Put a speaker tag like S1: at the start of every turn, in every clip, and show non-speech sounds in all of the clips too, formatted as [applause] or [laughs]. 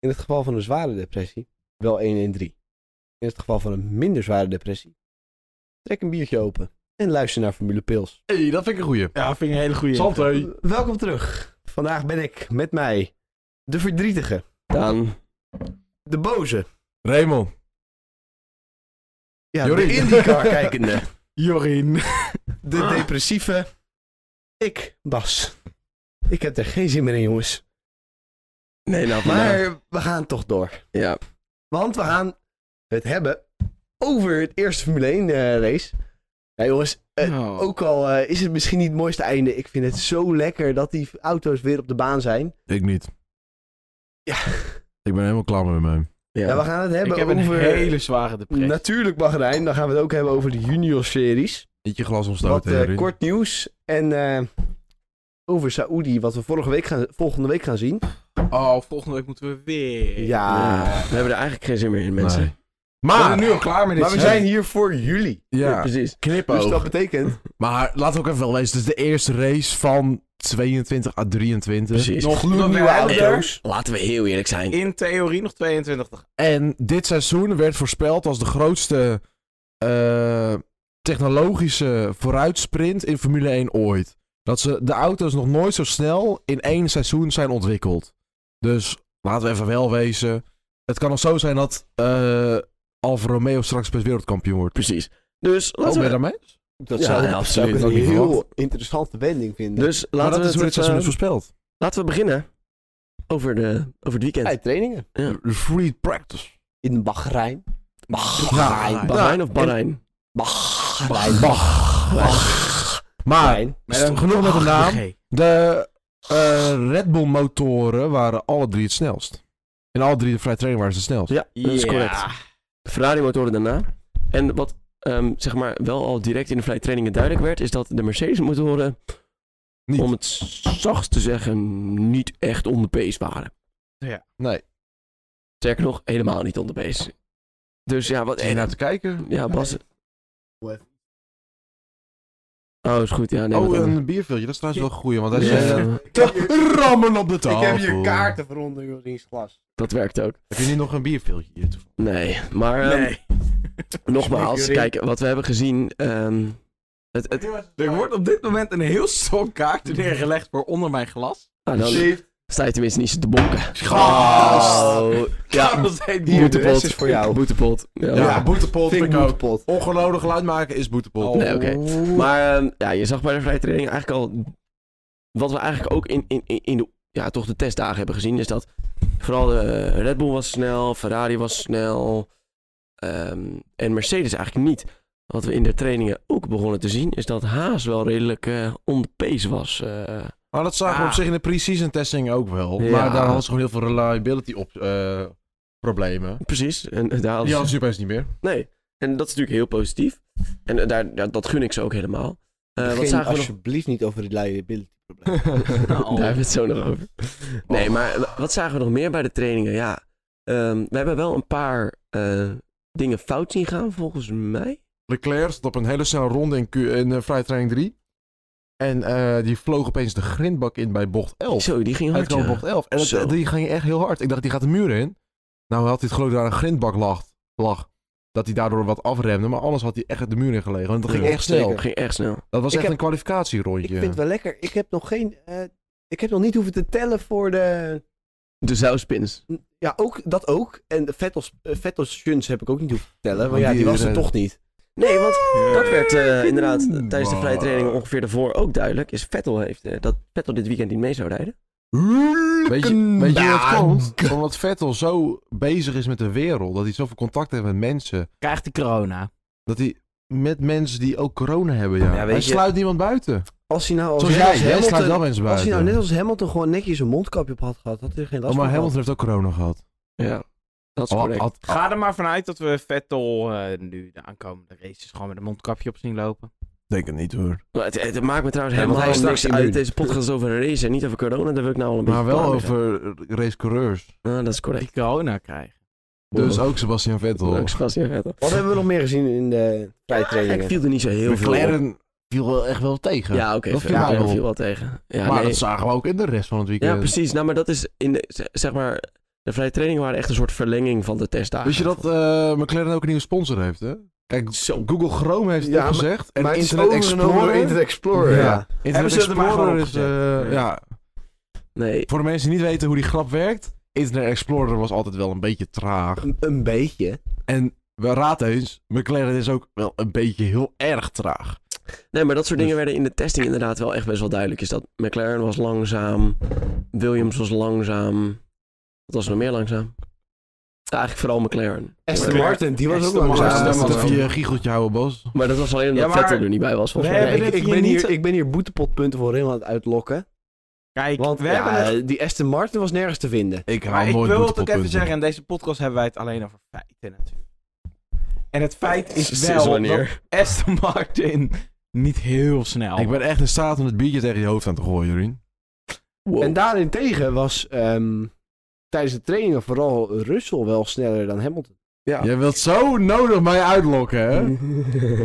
S1: In het geval van een zware depressie wel 1 in 3. In het geval van een minder zware depressie, trek een biertje open en luister naar Formule Pils. Eh,
S2: hey, dat vind ik een goeie.
S3: Ja, vind ik een hele goede.
S2: Santé.
S1: Welkom terug. Vandaag ben ik met mij de verdrietige,
S4: Daan.
S1: de boze,
S2: Raymond.
S1: ja, de
S2: Jorrie.
S1: IndyCar kijkende,
S3: Jorin.
S1: de depressieve, ik, Bas. Ik heb er geen zin meer in, jongens.
S4: Nee, nou vandaag.
S1: Maar we gaan toch door.
S4: Ja.
S1: Want we gaan het hebben over het eerste Formule 1 eh, race. Ja, jongens, eh,
S3: Oh.
S1: ook al eh, is het misschien niet het mooiste einde, ik vind het zo lekker dat die auto's weer op de baan zijn.
S2: Ik niet.
S1: Ja,
S2: Ik ben helemaal klaar met mij.
S4: Ja.
S1: ja we gaan het
S3: Ik
S1: hebben
S3: heb een
S1: over...
S3: hele zware depressie.
S1: Natuurlijk Bahrein, dan gaan we het ook hebben over de junior series.
S2: Niet je glas
S1: Wat
S2: omstoten,
S1: eh,
S2: Jorien.
S1: kort nieuws en eh, over Saoedi, wat we vorige week gaan, volgende week gaan zien.
S3: Oh, volgende week moeten we weer.
S1: Ja,
S4: Ja, we hebben er eigenlijk geen zin meer in, mensen.
S2: Nee.
S3: Ah. Maar,
S2: Maar,
S3: nu al klaar met dit.
S1: maar we zijn hier voor jullie.
S4: Ja,
S2: ja,
S4: precies.
S2: knippen
S1: Dus dat betekent,
S2: Maar laten we ook even wel lezen, het is de eerste race van 22 à 23.
S4: Precies.
S3: nog
S1: nieuwe auto's.
S4: Laten we heel eerlijk zijn.
S3: In theorie nog 22 dagen.
S2: En dit seizoen werd voorspeld als de grootste eh, technologische vooruitsprint in Formule 1 ooit. Dat ze de auto's nog nooit zo snel in één seizoen zijn ontwikkeld. Dus laten we even wel wezen. Het kan nog zo zijn dat eh Alfa Romeo straks best wereldkampioen wordt.
S4: Precies. Dus
S2: Oh,
S4: laten
S2: ben je
S4: we...
S2: daarmee?
S1: Dat
S4: Ja,
S1: zou,
S4: ja,
S1: dat
S4: absoluut.
S1: zou ik
S2: Had ik
S1: een
S2: niet
S1: heel
S2: verwacht.
S1: interessante wending vinden.
S4: Dus
S2: Maar
S4: laten
S2: dat
S4: we,
S2: is hoe dit
S4: het, eh,
S2: seizoen is voorspeld.
S4: laten we beginnen over, de, over het weekend.
S1: Bij trainingen.
S2: De Free practice.
S1: In Bahrein.
S2: Bahrein.
S4: Bahrein
S2: Ja,
S4: of Bahrein?
S1: Bahrein.
S2: Maar
S1: Bahrein.
S2: st- genoeg
S3: Ah,
S2: met de naam. De eh, Red Bull motoren waren alle drie het snelst. In alle drie de vrije training waren ze het snelst.
S4: Ja, dat is
S3: Ja. [laughs]
S4: correct. Ferrari motoren daarna. En wat ehm, zeg maar wel al direct in de vrije trainingen duidelijk werd, is dat de Mercedes motoren,
S2: Niet.
S4: om het zacht te zeggen, niet echt on the pace waren.
S2: Nee.
S4: Sterker nog, helemaal niet on the pace. Dus ja, wat...
S2: En naar te kijken.
S4: Ja, Bas... Oh, is goed. Ja, nee,
S2: oh,
S4: wat-
S2: een bierviltje. Dat is trouwens wel een goeie, want hij
S4: Ja.
S2: zei...
S3: [laughs]
S2: eh, te rammen op de tafel.
S1: veronder, Jordiens glas.
S4: dat werkt ook.
S2: Heb je niet nog een bierviltje hier? toevallig?
S4: Nee, maar ehm,
S3: Nee.
S4: nogmaals,
S1: Spreek jullie.
S4: kijk, wat we hebben gezien. ehm, het, het,
S3: Er wordt op dit moment een heel stok kaartje neergelegd voor onder mijn glas.
S4: ah, dan sta je tenminste niet zo te bonken.
S3: Gast!
S4: Ja,
S3: [laughs] dat is een
S1: Hier,
S3: boete.
S1: de rest is voor jou.
S4: boetepot. Ja.
S2: Ja, boetepot
S1: Vind
S2: vind
S1: ik
S2: ik ook.
S1: moedpot.
S2: Ongenodig geluid maken is boetepot.
S3: Oh.
S4: Nee, oké. Maar ehm, ja, je zag bij de vrije training eigenlijk al... Wat we eigenlijk ook in, in, in in de, ja, toch de testdagen hebben gezien... is dat vooral de Red Bull was snel, Ferrari was snel... ehm, en Mercedes eigenlijk niet. Wat we in de trainingen ook begonnen te zien... is dat Haas wel redelijk eh on the pace was. eh.
S2: Maar dat zagen we op
S3: Ah.
S2: zich in de pre-season testing ook wel.
S4: Ja.
S2: Maar daar hadden ze gewoon heel veel reliability op eh, problemen.
S4: precies. En, eh, daar hadden
S2: Die
S4: ze-
S2: hadden ze opeens niet meer.
S4: Nee. En dat is natuurlijk heel positief. En eh, daar, ja, dat gun ik ze ook helemaal. Eh, wat
S1: Begin
S4: zagen we nog?
S1: alsjeblieft niet over reliability probleem.
S4: [laughs] Daar hebben we het zo nog over. Nee, maar w- wat zagen we nog meer bij de trainingen? Ja, ehm, we hebben wel een paar eh, dingen fout zien gaan, volgens mij.
S2: Leclerc zat op een hele snelle ronde in, Q, in eh, vrije training 3. En eh, die vloog opeens de grindbak in bij bocht 11.
S4: Zo, die ging
S2: Hij
S4: hard.
S2: kwam op
S4: ja.
S2: bocht 11. En
S4: Zo.
S2: dat, die ging echt heel hard. Ik dacht, die gaat de muur in. Nou had hij het geluk dat daar een grindbak lag. lag. Dat hij daardoor wat afremde. Maar anders had hij echt de muur in gelegen. Want dat ging
S4: Ja,
S2: echt snel.
S4: zeker, ging echt snel.
S2: Dat was
S1: Ik
S2: echt
S1: heb-
S2: een kwalificatierondje.
S1: Ik vind het wel lekker. Ik heb nog geen... eh, ik heb nog niet hoeven te tellen voor de...
S4: De zouwspins.
S1: Ja, ook, dat ook. En de Vettel's, eh, Vettel's stunts heb ik ook niet hoeven te tellen. Want
S2: Want
S1: ja, die
S2: die
S1: was er
S2: reden-
S1: toch niet.
S4: Nee, want dat werd eh, inderdaad tijdens de
S2: Wow.
S4: vrije trainingen ongeveer daarvoor ook duidelijk. Is Vettel heeft eh, dat Vettel dit weekend niet mee zou rijden.
S2: Weet je, weet je hoe dat
S1: Nou,
S2: komt? Omdat Vettel zo bezig is met de wereld. Dat hij zoveel contact heeft met mensen.
S3: Krijgt de corona.
S2: Dat hij met mensen die ook corona hebben. Ja.
S1: Ja, weet
S2: hij
S1: je-
S2: sluit niemand buiten.
S1: Als hij nou als,
S2: Zoals
S1: net
S2: jij.
S1: als
S2: Jij sluit wel
S1: Hamilton...
S2: mensen
S1: Als hij nou net
S2: buiten.
S1: als Hamilton gewoon netjes een mondkapje op had gehad, had hij er geen last
S2: Oh, maar
S1: van
S2: Hamilton heeft ook corona gehad.
S4: Ja, Oh, dat is
S2: Al-
S4: correct.
S2: al-
S3: Ga er maar vanuit dat we Vettel eh, nu de aankomende races gewoon met een mondkapje op zien lopen.
S2: Denk het niet hoor.
S4: Maar Het, het maakt me trouwens
S1: Ja, want
S4: helemaal
S1: hij is straks
S4: niks uit.
S1: immuun.
S4: Deze podcast over race en niet over corona. Daar wil ik nou al een
S2: Maar
S4: beetje
S2: wel
S4: klaar mee zijn.
S2: over racecoureurs.
S4: Ah, dat is correct.
S3: Die corona krijgen.
S2: Dus ook Sebastian Vettel.
S4: Oh. Ook Sebastian Vettel.
S1: Wat hebben we nog meer gezien in de
S4: Ik
S1: vrijtrainingen?
S4: viel er niet zo heel veel op.
S2: McLaren viel wel echt wel tegen.
S4: Ja, oké.
S2: Dat
S4: dat
S2: viel mij wel op.
S4: viel wel tegen. Ja,
S2: maar
S4: nee.
S2: dat zagen we ook in de rest van het weekend.
S4: ja, precies. Nou, maar dat is in de, z- zeg maar... De vrije trainingen waren echt een soort verlenging van de testdagen.
S2: Weet je dat eh, McLaren ook een nieuwe sponsor heeft, hè? Kijk,
S4: Zo.
S2: Google Chrome heeft het
S1: Ja,
S2: al gezegd. En
S1: maar het is
S2: Internet
S1: overgenomen door
S2: Explorer.
S1: Internet Explorer,
S2: Ja.
S1: ja.
S2: Internet
S3: Hebben ze het er maar
S2: Explorer
S3: gewoon
S2: is... eh,
S3: opgezet?
S2: ja,
S4: Nee,
S2: voor de mensen die niet weten hoe die grap werkt... Internet Explorer was altijd wel een beetje traag.
S1: Een, een beetje.
S2: En we raad eens, McLaren is ook wel een beetje heel erg traag.
S4: nee, maar dat soort dingen
S2: Dus-
S4: werden in de testing inderdaad wel echt best wel duidelijk. Is dat McLaren was langzaam, Williams was langzaam. Wat was er nog meer langzaam? Ja, eigenlijk vooral McLaren.
S1: Aston
S3: Martin,
S1: Martin, die was ook
S3: Aston
S1: wel
S3: Martin.
S1: ja,
S2: Als je
S3: dat
S2: dat
S3: was
S2: even
S3: wel.
S2: je giegeltje houden, Bas.
S4: Maar dat was alleen omdat
S3: Ja, maar-
S4: Vettel er niet bij was, volgens
S3: We
S4: mij.
S1: Ja,
S3: hebben
S1: ik,
S3: het
S1: ik
S3: hier
S1: ben
S3: niet-
S1: hier, ik ben hier boetepotpunten voor helemaal aan het uitlokken.
S3: Kijk,
S1: Want
S3: we
S1: ja,
S3: hebben het...
S1: die Aston Martin was nergens te vinden.
S2: Ik
S3: Maar
S2: hou
S3: ik
S2: nooit
S3: wil
S2: boete
S3: het ook
S2: op
S3: even
S2: punten.
S3: zeggen, in deze podcast hebben wij het alleen over feiten natuurlijk. En het feit is
S4: Sinds
S3: wel dat
S4: wanneer?
S3: Aston Martin niet heel snel.
S2: Ik ben echt in staat om het biertje tegen je hoofd aan te gooien, Jorien.
S4: Wow.
S1: En daarentegen was ehm, tijdens de trainingen vooral Russell wel sneller dan
S2: [laughs]
S1: Hamilton.
S4: Ja.
S2: Jij wilt zo nodig mij uitlokken, hè?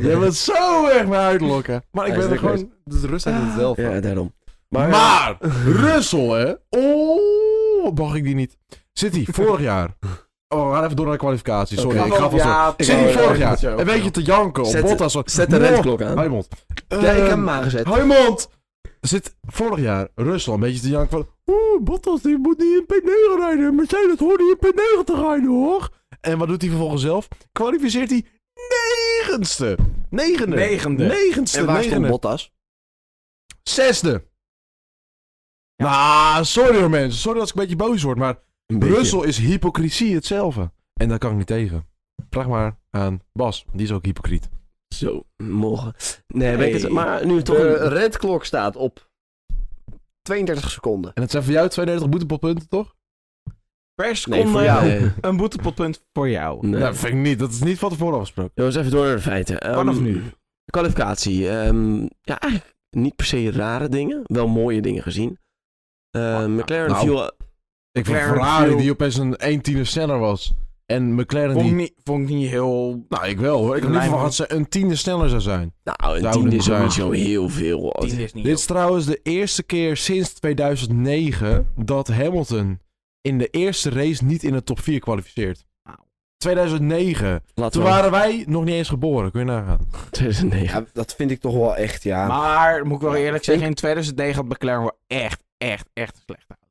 S2: Jij wilt zo erg mij uitlokken. Maar ik
S4: Hij is
S2: ben er
S4: lekker
S2: gewoon... Dus rust aan zelf.
S4: Ja, daarom.
S2: Maar, maar Russell, hè? Oh, mag ik die niet? City, vorig jaar. Oh, we gaan even door naar de kwalificatie. Sorry,
S4: Oké.
S2: ik ga vast
S3: Oh, ja,
S2: City
S4: wou-
S2: vorig
S4: ik
S2: jaar.
S4: moet je ook
S2: Een beetje te janken op
S4: Zet-
S2: Bottas.
S4: Zet de
S2: Mo-
S4: redklok aan.
S2: Huimond.
S1: ja, ik heb
S2: Ehm,
S1: hem aangezet.
S2: Huimond! Zit vorig jaar Russell een beetje te janken van... Oeh, Bottas die moet niet in P9 rijden. Mercedes hoort niet in P9 te rijden, hoor. En wat doet hij vervolgens zelf? Kwalificeert hij negendste. Negende.
S3: Negende.
S2: Negendste.
S1: En waar stond
S2: negende.
S1: Bottas?
S2: Zesde. Nou, sorry hoor mensen. Sorry als ik een beetje boos word, maar
S4: Een beetje.
S2: Brussel is hypocrisie hetzelfde. En daar kan ik niet tegen. Vraag maar aan Bas, die is ook hypocriet.
S4: Zo, morgen. Nee, ben ik het,
S1: Nee. Eh,
S4: maar nu toch...
S1: De
S4: een-
S1: red clock staat op 32 seconden.
S2: En dat zijn voor jou 32 boetepotpunten, toch?
S3: Per
S1: Nee,
S3: seconde
S1: voor jou.
S4: Nee,
S3: een boetepotpunt voor jou.
S4: nee.
S2: Nee, dat vind ik niet. Dat is niet van tevoren afgesproken.
S4: Jongens, even door naar de feiten. Ehm,
S3: Vanaf nu.
S4: Kwalificatie. ehm, ja, eigenlijk niet per se rare dingen. Wel mooie dingen gezien. Ehm,
S3: Ah,
S4: McLaren
S2: nou.
S4: viel...
S2: Ik vind
S3: McLaren
S2: Ferrari
S3: viel-
S2: die opeens een 1 tiende sneller was. En McLaren
S3: Vond ik
S2: die...
S3: niet, vond ik niet heel...
S2: Nou, ik wel hoor. Ik had niet
S3: Lijn-
S2: verwacht dat ze een tiende sneller zou zijn.
S4: Nou, een
S2: Zou
S4: tiende
S2: niet
S4: is ook
S2: zijn.
S4: niet zo heel veel.
S3: Tien is niet
S2: Dit is trouwens de eerste keer sinds 2009 dat Hamilton in de eerste race niet in de top 4 kwalificeert.
S3: Wauw.
S2: 2009.
S4: Laten
S2: Toen
S4: we
S2: waren wij nog niet eens geboren, kun je nagaan.
S4: 2009.
S1: dat vind ik toch wel echt, ja.
S3: heel.
S1: [laughs]
S3: Maar, moet ik wel
S1: Ja,
S3: eerlijk
S1: ik denk-
S3: zeggen, in 2009 had McLaren wel echt, echt, echt een slechte auto.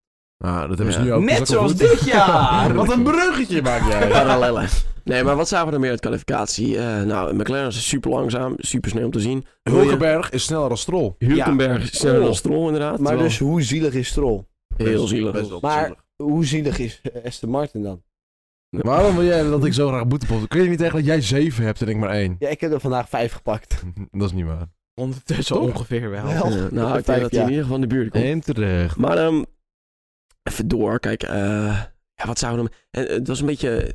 S2: Nou, dat hebben ze
S4: Ja.
S2: nu ook.
S3: Net
S2: dat is ook wel
S3: zoals
S2: goed.
S3: dit jaar!
S2: Wat een bruggetje maak jij.
S1: [laughs]
S4: Parallellen. Nee, maar wat zagen we er meer uit kwalificatie? Eh, nou, McLaren is super langzaam. Super snel om te zien.
S2: Hulkenberg is sneller dan Strol.
S4: Hulkenberg is sneller
S1: Oh.
S4: dan Stroll inderdaad.
S1: Maar
S4: Terwijl-
S1: dus hoe zielig is Stroll?
S4: Heel zielig.
S1: Maar hoe zielig is eh, Aston Martin dan?
S2: Waarom wil jij dat ik zo graag boete pop? Kun je niet echt dat jij zeven hebt en ik maar één?
S1: Ja, ik heb er vandaag vijf gepakt.
S2: [laughs] Dat is niet waar.
S3: Ondertussen
S2: Toch?
S3: ongeveer wel.
S1: Wel.
S2: [laughs]
S4: Eh, nou, ik denk
S1: Vijf
S4: dat hij in
S1: jaar.
S4: ieder geval in de buurt komt.
S2: En terecht.
S4: Maar ehm, even door. Kijk, eh, ja, wat zouden we... En, eh, het was een beetje...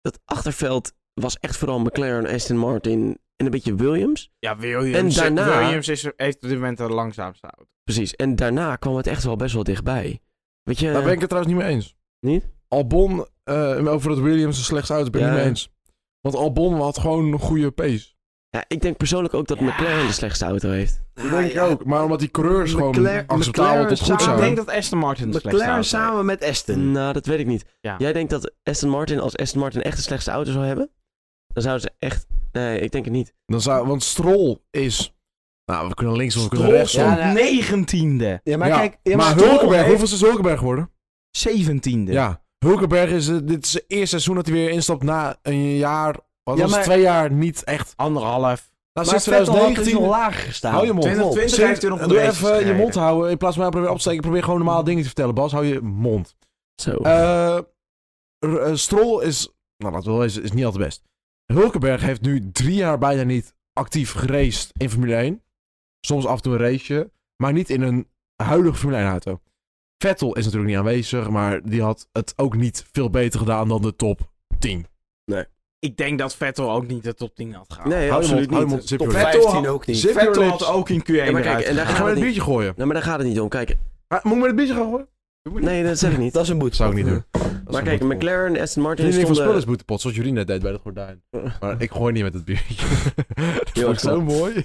S4: Dat achterveld was echt vooral McLaren, Aston Martin en een beetje Williams.
S3: Ja, Williams,
S4: En daarna-
S3: Williams is, heeft op dit moment de langzaamste auto.
S4: Precies. En daarna kwam het echt wel best wel dichtbij. Weet je...
S1: Eh,
S2: Daar ben ik het trouwens niet mee eens.
S4: Niet?
S2: Albon, eh, over dat Williams de slechtste auto, ben ik
S4: Ja.
S2: niet mee eens. Want Albon had gewoon een goede pace.
S4: ja, ik denk persoonlijk ook dat
S3: Ja.
S4: McLaren de slechtste auto heeft.
S2: Dat denk ik ook. Maar omdat die coureurs gewoon
S1: McLaren-
S2: acceptabel tot goed
S1: McLaren
S3: Ik
S1: zou-
S2: zijn.
S3: denk dat Aston Martin de slechtste
S1: McLaren
S3: auto heeft.
S1: samen met Aston.
S4: Nou, dat weet ik niet.
S3: Ja.
S4: Jij denkt dat Aston Martin, als Aston Martin echt de slechtste auto zou hebben... Dan zouden ze echt... Nee, ik denk het niet.
S2: Dan zou, want Strol is... Nou, we kunnen links of we kunnen
S3: Stroll
S2: rechts.
S1: ja,
S3: stond
S1: nou-
S3: 19e,
S1: Ja, maar
S2: Ja,
S1: kijk... Ja,
S2: maar
S1: Stroll
S2: Hulkenberg,
S1: heeft-
S2: hoeveel is Hulkenberg geworden?
S3: 17e.
S2: Ja, Hulkenberg is eh, dit is het eerste seizoen dat hij weer instapt na een jaar. Wat
S1: Ja,
S2: was het,
S1: maar-
S2: twee jaar niet echt.
S3: Anderhalf.
S2: Nou,
S1: Maar
S2: sinds
S1: Vettel had dus
S2: 2019.
S1: nog lager gestaan.
S2: Hou je mond.
S3: 2020
S2: Sinds-
S3: heeft hij nog een
S2: Doe
S3: race
S2: even eh, je
S3: gereden.
S2: mond houden. In plaats van mij proberen op te steken, probeer gewoon normale dingen te vertellen. Bas, hou je mond.
S4: Zo.
S2: Eh, R- eh, Stroll is, nou laten we wel wezen, is niet altijd best. Hulkenberg heeft nu drie jaar bijna niet actief geraced in Formule 1. Soms af en toe een raceje, maar niet in een huidige Formule 1 auto. Vettel is natuurlijk niet aanwezig, maar die had het ook niet veel beter gedaan dan de top 10.
S3: Ik denk dat Vettel ook niet de top 10 had gehaald.
S4: nee,
S2: Hou je
S4: absoluut
S2: mond, hou je
S4: niet.
S2: mond, zip
S1: Top
S2: your lips.
S3: Vettel
S1: 15
S3: had-
S1: ook niet.
S2: Zip your
S3: Vettel
S2: lips.
S3: had ook in Q1
S4: Ja, maar kijk,
S3: eruit
S4: en daar
S3: gehaald.
S2: Gaan we
S4: gaat
S2: het
S4: het
S2: biertje gooien?
S4: Nee, Nou, maar daar gaat het niet om. Kijk,
S2: Ah, Moet ik met het biertje gaan gooien?
S4: nee, dat zeg ik niet.
S1: Dat is een boete.
S2: [laughs] Dat zou ik niet doen.
S4: [laughs] Maar kijk, McLaren, Aston Martin
S2: Vriendin van spullen
S4: stonden...
S2: is boetepot, zoals jullie net deed bij dat gordijn.
S4: [laughs]
S2: Maar ik gooi niet met het biertje. [laughs] dat
S4: Heel
S2: vond ik zo
S4: knap.
S2: mooi.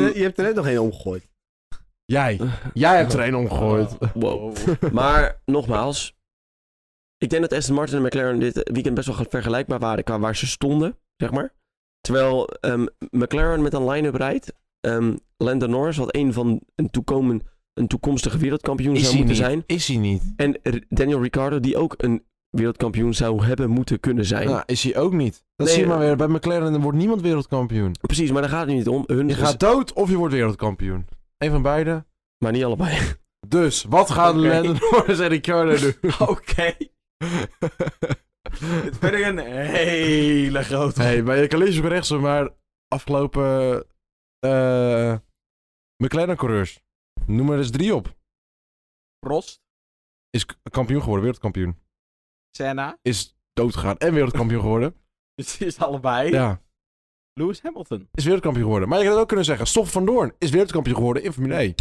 S1: [laughs] je, je hebt er net nog één omgegooid.
S2: Eh, [laughs] Jij, jij hebt er een omgegooid.
S4: wow. maar nogmaals, ik denk dat Aston Martin en McLaren dit weekend best wel vergelijkbaar waren qua waar ze stonden, zeg maar. Terwijl ehm, McLaren met een line-up rijdt. ehm Lando Norris, wat een van een, toekomen, een toekomstige wereldkampioen
S2: Is
S4: zou
S2: hij
S4: moeten
S2: niet?
S4: zijn.
S2: Is hij niet?
S4: En R- Daniel Ricciardo, die ook een wereldkampioen zou hebben moeten kunnen zijn.
S2: Nou, is hij ook niet. Dat
S4: Nee,
S2: zie je maar
S4: eh,
S2: weer. Bij McLaren dan wordt niemand wereldkampioen.
S4: Precies, maar daar gaat het niet om. Hun
S2: Je gaat dood of je wordt wereldkampioen. Eén van beide.
S4: Maar niet allebei.
S2: Dus, [laughs] wat gaan
S3: Oké.
S2: Lennon Norris en Ricciardo [laughs] doen?
S3: [laughs] Oké. Het ben ik een hele grote.
S2: hey, bij de collisions op rechts, maar afgelopen eh McLaren-coureurs. Noem er eens drie op.
S3: Prost,
S2: Is k- kampioen geworden, wereldkampioen.
S3: Senna.
S2: Is doodgegaan en wereldkampioen [laughs] geworden.
S3: Dus het is allebei.
S2: Ja,
S3: Lewis Hamilton.
S2: is wereldkampioen geworden. Maar je had ook kunnen zeggen, Stoffel van Doorn is wereldkampioen geworden in Formule 1.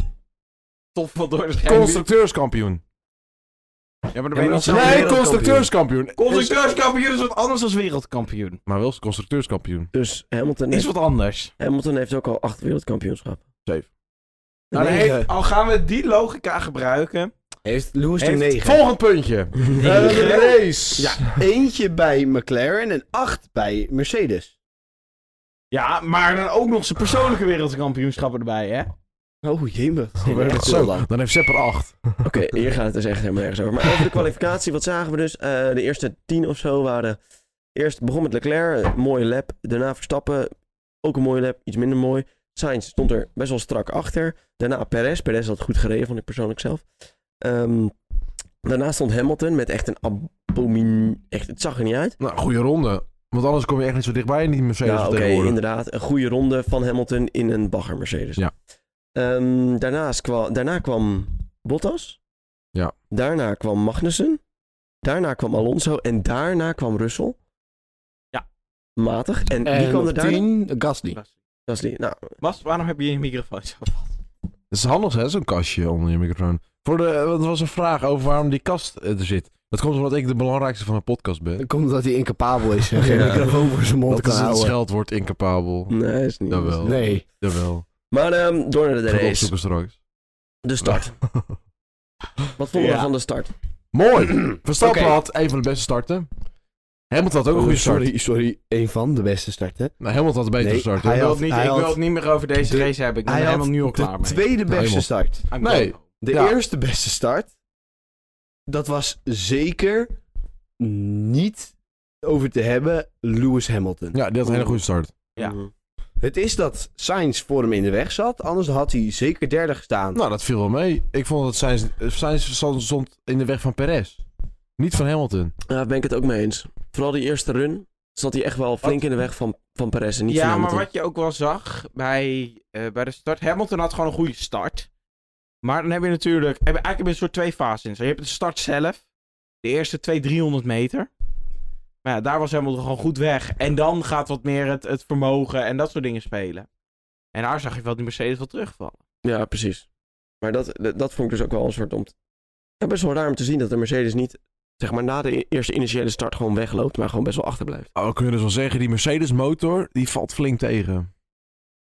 S3: Tof van door de
S2: Constructeurskampioen.
S1: Ja,
S3: Ja, maar dan
S1: maar
S3: ben
S1: dat
S3: je nog
S1: is wel
S2: Nee,
S1: wereldkampioen.
S2: constructeurskampioen.
S3: Constructeurskampioen is wat anders dan wereldkampioen.
S2: Maar wel constructeurskampioen.
S4: Dus Hamilton
S3: Is
S4: heeft,
S3: wat anders.
S4: Hamilton heeft ook al acht wereldkampioenschappen.
S2: Zeven.
S3: Nou, dan
S1: Negen.
S3: heeft- al gaan we die logica gebruiken.
S1: Heeft Lewis
S3: Heeft-
S1: toen 9.
S2: Volgend puntje. Eh,
S1: Negen.
S2: de race.
S3: Ja.
S1: Eentje bij McLaren en 8 bij Mercedes.
S3: Ja, maar dan ook nog zijn persoonlijke wereldkampioenschappen erbij, hè?
S1: Oh jemig. Dat is echt
S2: Zo,
S1: heel lang.
S2: dan heeft Sepp er acht.
S4: Oké, hier gaat het dus echt helemaal nergens over. Maar [laughs] over de kwalificatie, wat zagen we dus? Eh, de eerste tien of zo waren... Eerst begon met Leclerc, een mooie lap. Daarna Verstappen, ook een mooie lap, iets minder mooi. Sainz stond er best wel strak achter. Daarna Perez, Perez had goed gereden, vond ik persoonlijk zelf. Ehm, daarna stond Hamilton met echt een abomin... Echt, het zag er niet uit.
S2: Nou, goede ronde. Want anders kom je echt niet zo dichtbij in die Mercedes
S4: Ja, Nou, oké,
S2: vertegenwoordiger.
S4: inderdaad. Een goede ronde van Hamilton in een bagger Mercedes.
S2: Ja.
S4: Ehm, daarnaast kwa- daarna kwam Bottas.
S2: Ja.
S4: Daarna kwam Magnussen. Daarna kwam Alonso. En daarna kwam Russell.
S3: Ja.
S4: Matig. En,
S1: En
S4: wie kwam er
S1: op
S4: daarna?
S1: 10, Gasly.
S4: Dat is die. Nou,
S3: Bas, waarom heb je je microfoon zo vast?
S2: Het is handig, hè, zo'n kastje onder je microfoon. Voor de, want er was een vraag over waarom die kast eh, er zit. Dat komt omdat ik de belangrijkste van de podcast ben.
S1: Dan komt omdat hij incapabel is en geen
S4: Ja.
S1: microfoon voor zijn mond
S2: Dat
S1: kan
S2: is een
S1: houden.
S2: scheldwoord, incapabel.
S4: Mm. nee, is niet.
S2: Jawel.
S1: Nee.
S2: Jawel.
S4: Maar ehm, door naar de
S2: Ik ga het
S4: race.
S2: opzoeken straks.
S4: De start. Wat vonden we
S3: Ja.
S4: van de start?
S2: [clears throat] Mooi. Verstappen
S1: Oké.
S2: had een van de beste starten. Hamilton had ook een goede start.
S1: sorry, sorry. Een van de beste starten.
S2: Nou, Hamilton had een betere
S1: Nee,
S2: start.
S1: hij
S3: Ik wil,
S1: had-
S3: het niet,
S1: hij
S3: ik wil
S1: had-
S3: het niet meer over deze
S1: de-
S3: race hebben. Ik ben
S1: hij
S3: er
S1: had
S3: helemaal nu al klaar
S1: De
S3: mee.
S1: tweede beste
S2: helemaal.
S1: start.
S3: I'm
S2: Nee.
S3: done.
S1: De
S2: Ja.
S1: eerste beste start. Dat was zeker niet over te hebben Lewis Hamilton.
S2: Ja, die had een hele goede start.
S3: Ja.
S4: Mhm.
S1: Het is dat Sainz voor hem in de weg zat. Anders had hij zeker derde gestaan.
S2: Nou, dat viel wel mee. Ik vond dat Sainz, eh, Sainz stond- stond in de weg van Perez. Niet van Hamilton.
S4: Daar ben ik het ook mee eens. Vooral die eerste run zat hij echt wel flink in de weg van, van Perez en niet van
S3: Ja, maar
S4: Hamilton.
S3: wat je ook wel zag bij, eh, bij de start. Hamilton had gewoon een goede start. Maar dan heb je natuurlijk. Heb je eigenlijk heb je een soort twee fases in. Zo, Je hebt de start zelf. De eerste 200, 300 meter. Maar ja, daar was Hamilton gewoon goed weg. En dan gaat wat meer het, het vermogen en dat soort dingen spelen. En daar zag je wel die Mercedes wel terugvallen.
S4: Ja, precies. Maar dat, dat, dat vond ik dus ook wel een soort om... te- Ja, best wel raar om te zien dat de Mercedes niet, zeg maar, na de i- eerste initiële start gewoon wegloopt, maar gewoon best wel achterblijft.
S2: Oh, kun je dus wel zeggen, die Mercedes motor, die valt flink tegen.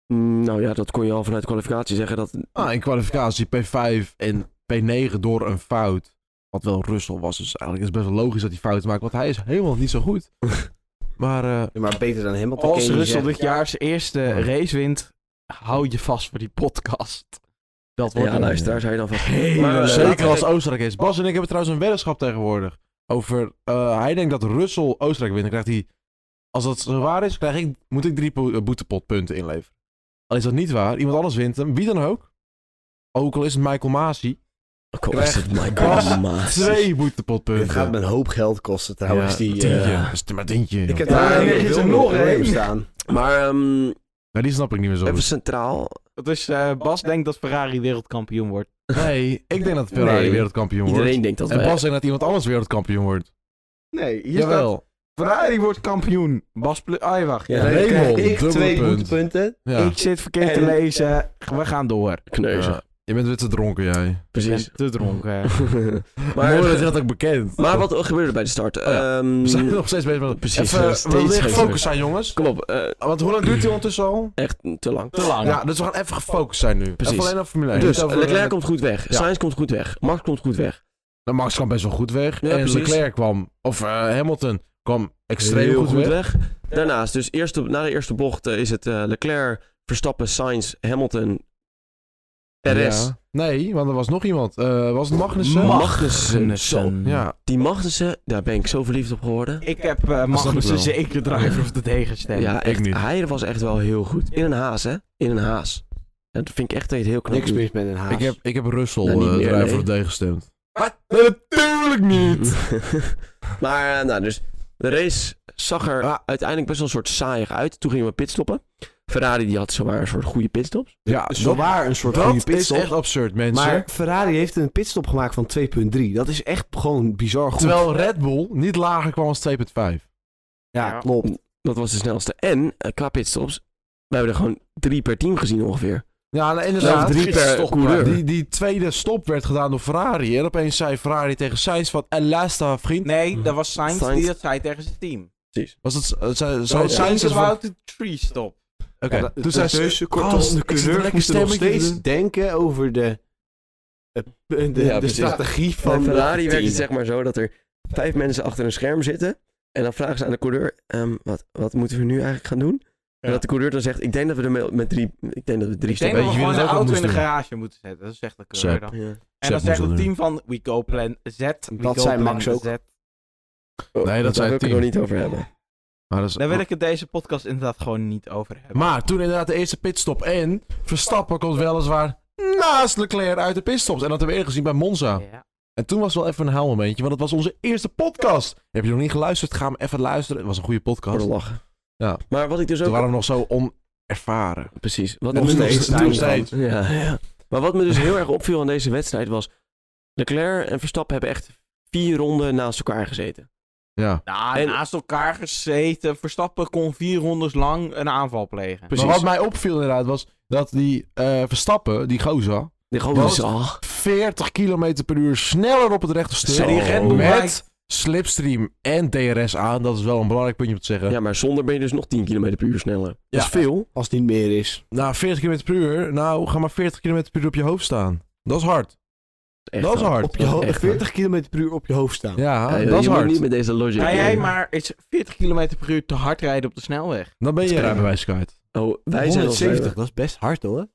S4: Mm, Nou ja, dat kon je al vanuit de kwalificatie zeggen. Dat...
S2: Ah, in kwalificatie P5 en P9 door een fout. Wat wel Russell was, dus eigenlijk is het best wel logisch dat hij fout maakt, want hij is helemaal niet zo [laughs] goed. maar eh,
S1: Ja, Maar beter dan Hamilton. kan
S3: Als
S1: je niet
S3: Russell
S1: zeggen.
S3: dit jaar zijn eerste race wint. Hou je vast voor die podcast. Dat wordt
S4: Ja,
S3: een
S4: luisteraar, zou je dan van...
S3: hele
S4: Maar, eh,
S3: leuke-
S2: zeker als Oostenrijk is. Bas en ik hebben trouwens een weddenschap tegenwoordig. Over, eh, hij denkt dat Russell Oostenrijk wint, dan krijgt hij, als dat zo waar is, krijg ik, moet ik drie po- eh, boetepotpunten inleveren. Al is dat niet waar, iemand anders wint hem, wie dan ook. Ook al is het Michael Masi,
S4: Ook al is het Michael
S2: Krijg-
S4: Maas.
S2: twee boetepotpunten.
S1: Het gaat met een hoop geld kosten trouwens. die, eh,
S2: tientje. Dat is maar tientje.
S1: Ik heb
S4: Ja,
S1: daar
S4: en er
S1: heel
S3: is er
S1: veel
S3: nog
S1: problemen
S3: één.
S1: staan.
S4: Maar ehm,
S2: Nou, die snap ik niet meer zo
S4: even
S2: goed.
S4: centraal.
S3: Dat is, eh, Bas denkt dat Ferrari wereldkampioen wordt.
S2: Nee, ik denk dat Ferrari
S4: Nee.
S2: wereldkampioen
S4: Iedereen
S2: wordt.
S4: denkt dat
S2: En
S4: wij-
S2: Bas denkt dat iemand anders wereldkampioen wordt.
S3: Nee, hier
S2: Jawel.
S3: Ferrari wordt kampioen. Bas... Pl- Ah, wacht.
S1: Ja,
S3: Ja.
S1: dan
S2: Raymond,
S1: krijg ik
S2: dubbele
S1: twee
S2: punt.
S1: boetepunten.
S2: Ja.
S3: Ik zit verkeerd te
S1: En-
S3: lezen. We gaan door.
S4: Kneuzen,
S2: Ja. Je bent weer te dronken, jij.
S4: precies.
S3: Ik ben te dronken.
S4: maar,
S2: Mooi dat je dat ook bekend.
S4: maar wat gebeurde bij de start?
S2: ja.
S4: Ehm, [laughs]
S2: We zijn nog steeds bezig met...
S4: Precies,
S2: Even,
S4: nog
S2: we
S4: steeds
S2: willen echt
S4: bezig.
S2: gefocust zijn, jongens.
S4: Kom op, eh,
S2: Want hoe lang duurt die ondertussen al?
S4: echt te lang.
S3: Te lang.
S2: Ja, dus we gaan even gefocust zijn nu.
S4: Precies.
S2: Even alleen op Formule 1.
S4: Dus
S2: Niet over-
S4: Leclerc komt goed weg,
S2: Ja.
S4: Sainz komt goed weg, Max komt goed weg.
S2: Nou, Max kwam best wel goed weg.
S4: Ja,
S2: en
S4: precies.
S2: Leclerc kwam, of eh, Hamilton kwam extreem
S4: Heel
S2: goed, weg.
S4: Daarnaast, dus eerste, na de eerste bocht eh, is het eh, Leclerc, Verstappen, Sainz, Hamilton, Perez.
S2: Ja. Nee, want er was nog iemand. Eh, was het Magnussen?
S4: Magnussen. Zo.
S3: Magnussen.
S2: Ja,
S4: Die Magnussen, daar ben ik zo verliefd op geworden.
S3: Ik heb eh
S2: ik wel.
S3: Magnussen zeker driver of de tegenstelling.
S4: Ja, echt,
S2: ik niet.
S4: hij was echt wel heel goed. In een haas, hè? In een haas. Ja, Dat vind ik echt een heel knap.
S1: Niks
S4: duo.
S1: mis met een haas.
S2: ik heb, ik heb Russell
S4: Nou,
S2: eh
S4: niet meer,
S2: driver
S4: nee.
S2: of the day gestemd.
S3: Wat?
S2: Nee, natuurlijk niet!
S4: [laughs] maar eh, nou, dus de race zag er
S2: Ah.
S4: uiteindelijk best wel een soort saaiig uit. Toen gingen we pitstoppen. Ferrari die had zomaar een soort goede pitstops.
S2: Ja, dat,
S1: Zowaar een soort goede
S2: dat is
S1: pitstop.
S2: echt absurd, mensen.
S1: maar Ferrari heeft een pitstop gemaakt van 2.3. Dat is echt gewoon bizar goed.
S2: Terwijl Red Bull niet lager kwam als 2.5.
S1: Ja,
S3: Ja.
S1: klopt.
S4: Dat was de snelste. En eh, qua pitstops, we hebben er gewoon drie per team gezien ongeveer.
S2: Ja, nou, inderdaad.
S4: Of drie per
S2: Stop,
S4: coureur.
S2: Die, die tweede stop werd gedaan door Ferrari. En opeens zei Ferrari tegen Sainz van... En luister, vriend.
S3: Nee, dat was Sainz,
S4: Sainz.
S3: die dat zei tegen zijn team.
S2: Was het... eh, zei- zei
S3: Zo
S2: Sainz...
S3: Sainz
S2: is van-
S3: wou de tree stop.
S2: Oké,
S1: Ja,
S2: toen zei ze...
S1: dus, kortom, de
S2: ik zit een
S1: coureurs
S2: lekker
S1: moeten nog
S2: stemmetje dus- te
S1: steeds
S2: doen.
S1: denken over de, eh, de, de,
S4: Ja, precies.
S1: strategie
S4: Bij
S1: van
S4: Ferrari
S1: het
S4: werkt het
S1: team.
S4: zeg maar zo dat er vijf mensen achter een scherm zitten. En dan vragen ze aan de coureur, ehm, wat, wat moeten we nu eigenlijk gaan doen? En
S3: Ja.
S4: dat de coureur dan zegt, ik denk dat we er met- met drie, ik denk dat we drie
S3: Ik denk
S4: stappen.
S3: dat we
S2: Weet je wie
S3: gewoon
S2: dat
S3: de
S2: ook nog
S3: auto
S2: moest
S3: in de
S2: doen?
S3: garage moeten zetten. Dat zegt de coureur
S2: Sepp.
S3: dan.
S4: Ja.
S3: En dan
S2: moest
S3: zegt
S2: dat
S3: het
S2: doen.
S3: team van We Go Plan Z. We
S1: Dat
S3: go
S1: zei
S3: plan
S1: Max ook.
S3: Z.
S4: Oh,
S2: Nee, dat
S4: daar
S2: zei
S4: wil ik
S2: tien.
S4: het nog niet over hebben.
S2: Maar, dat is-
S3: Daar wil ik het deze podcast inderdaad gewoon niet over hebben.
S2: Nou, maar toen inderdaad de eerste pitstop en... Verstappen komt weliswaar naast Leclerc uit de pitstops. En dat hebben we eerder gezien bij Monza.
S3: Ja.
S2: En toen was wel even een huilmomentje, want het was onze eerste podcast. Heb je nog niet geluisterd? Ga hem even luisteren. Het was een goede podcast.
S4: Voor de lachen.
S2: Ja.
S4: Maar wat ik dus ook...
S2: Toen waren we nog zo onervaren.
S4: Precies. Wat
S1: En
S4: nog
S1: nu nog
S4: steeds.
S1: steeds.
S2: Nog steeds.
S4: Ja, ja. Maar wat me dus heel erg opviel aan deze wedstrijd was... Leclerc en Verstappen hebben echt vier ronden naast elkaar gezeten.
S2: Ja.
S3: Nou,
S4: En-
S3: naast elkaar gezeten. Verstappen kon vier rondes lang een aanval plegen.
S4: Precies.
S2: Maar wat mij opviel inderdaad was dat die eh, Verstappen, die gozer,
S4: Die gewoon
S2: Wat?
S4: zag.
S2: 40 km per uur sneller op het rechte
S4: Zo.
S2: stuk.
S3: En die Red Bull
S2: Met
S3: lijkt-
S2: slipstream en DRS aan. Dat is wel een belangrijk puntje om te zeggen.
S4: Ja, maar zonder ben je dus nog 10 km per uur sneller.
S2: Ja.
S4: Dat is veel.
S1: Als het niet meer is.
S2: Nou, 40 km per uur. Nou, ga maar 40 km per uur op je hoofd staan. Dat is hard.
S4: Echt
S2: dat is hard.
S1: Op je ho-
S4: Echt,
S1: 40 km per uur op je hoofd staan.
S2: Ja,
S4: Ja, joh,
S2: dat is
S4: je moet
S2: hard.
S4: niet met deze logic.
S3: Ga jij
S4: eh,
S3: maar eens 40 km per uur te hard rijden op de snelweg?
S2: Dan ben je
S4: Springen.
S2: rijbewijs kwijt.
S4: Oh, wij zijn al
S1: 170, dat is best hard hoor.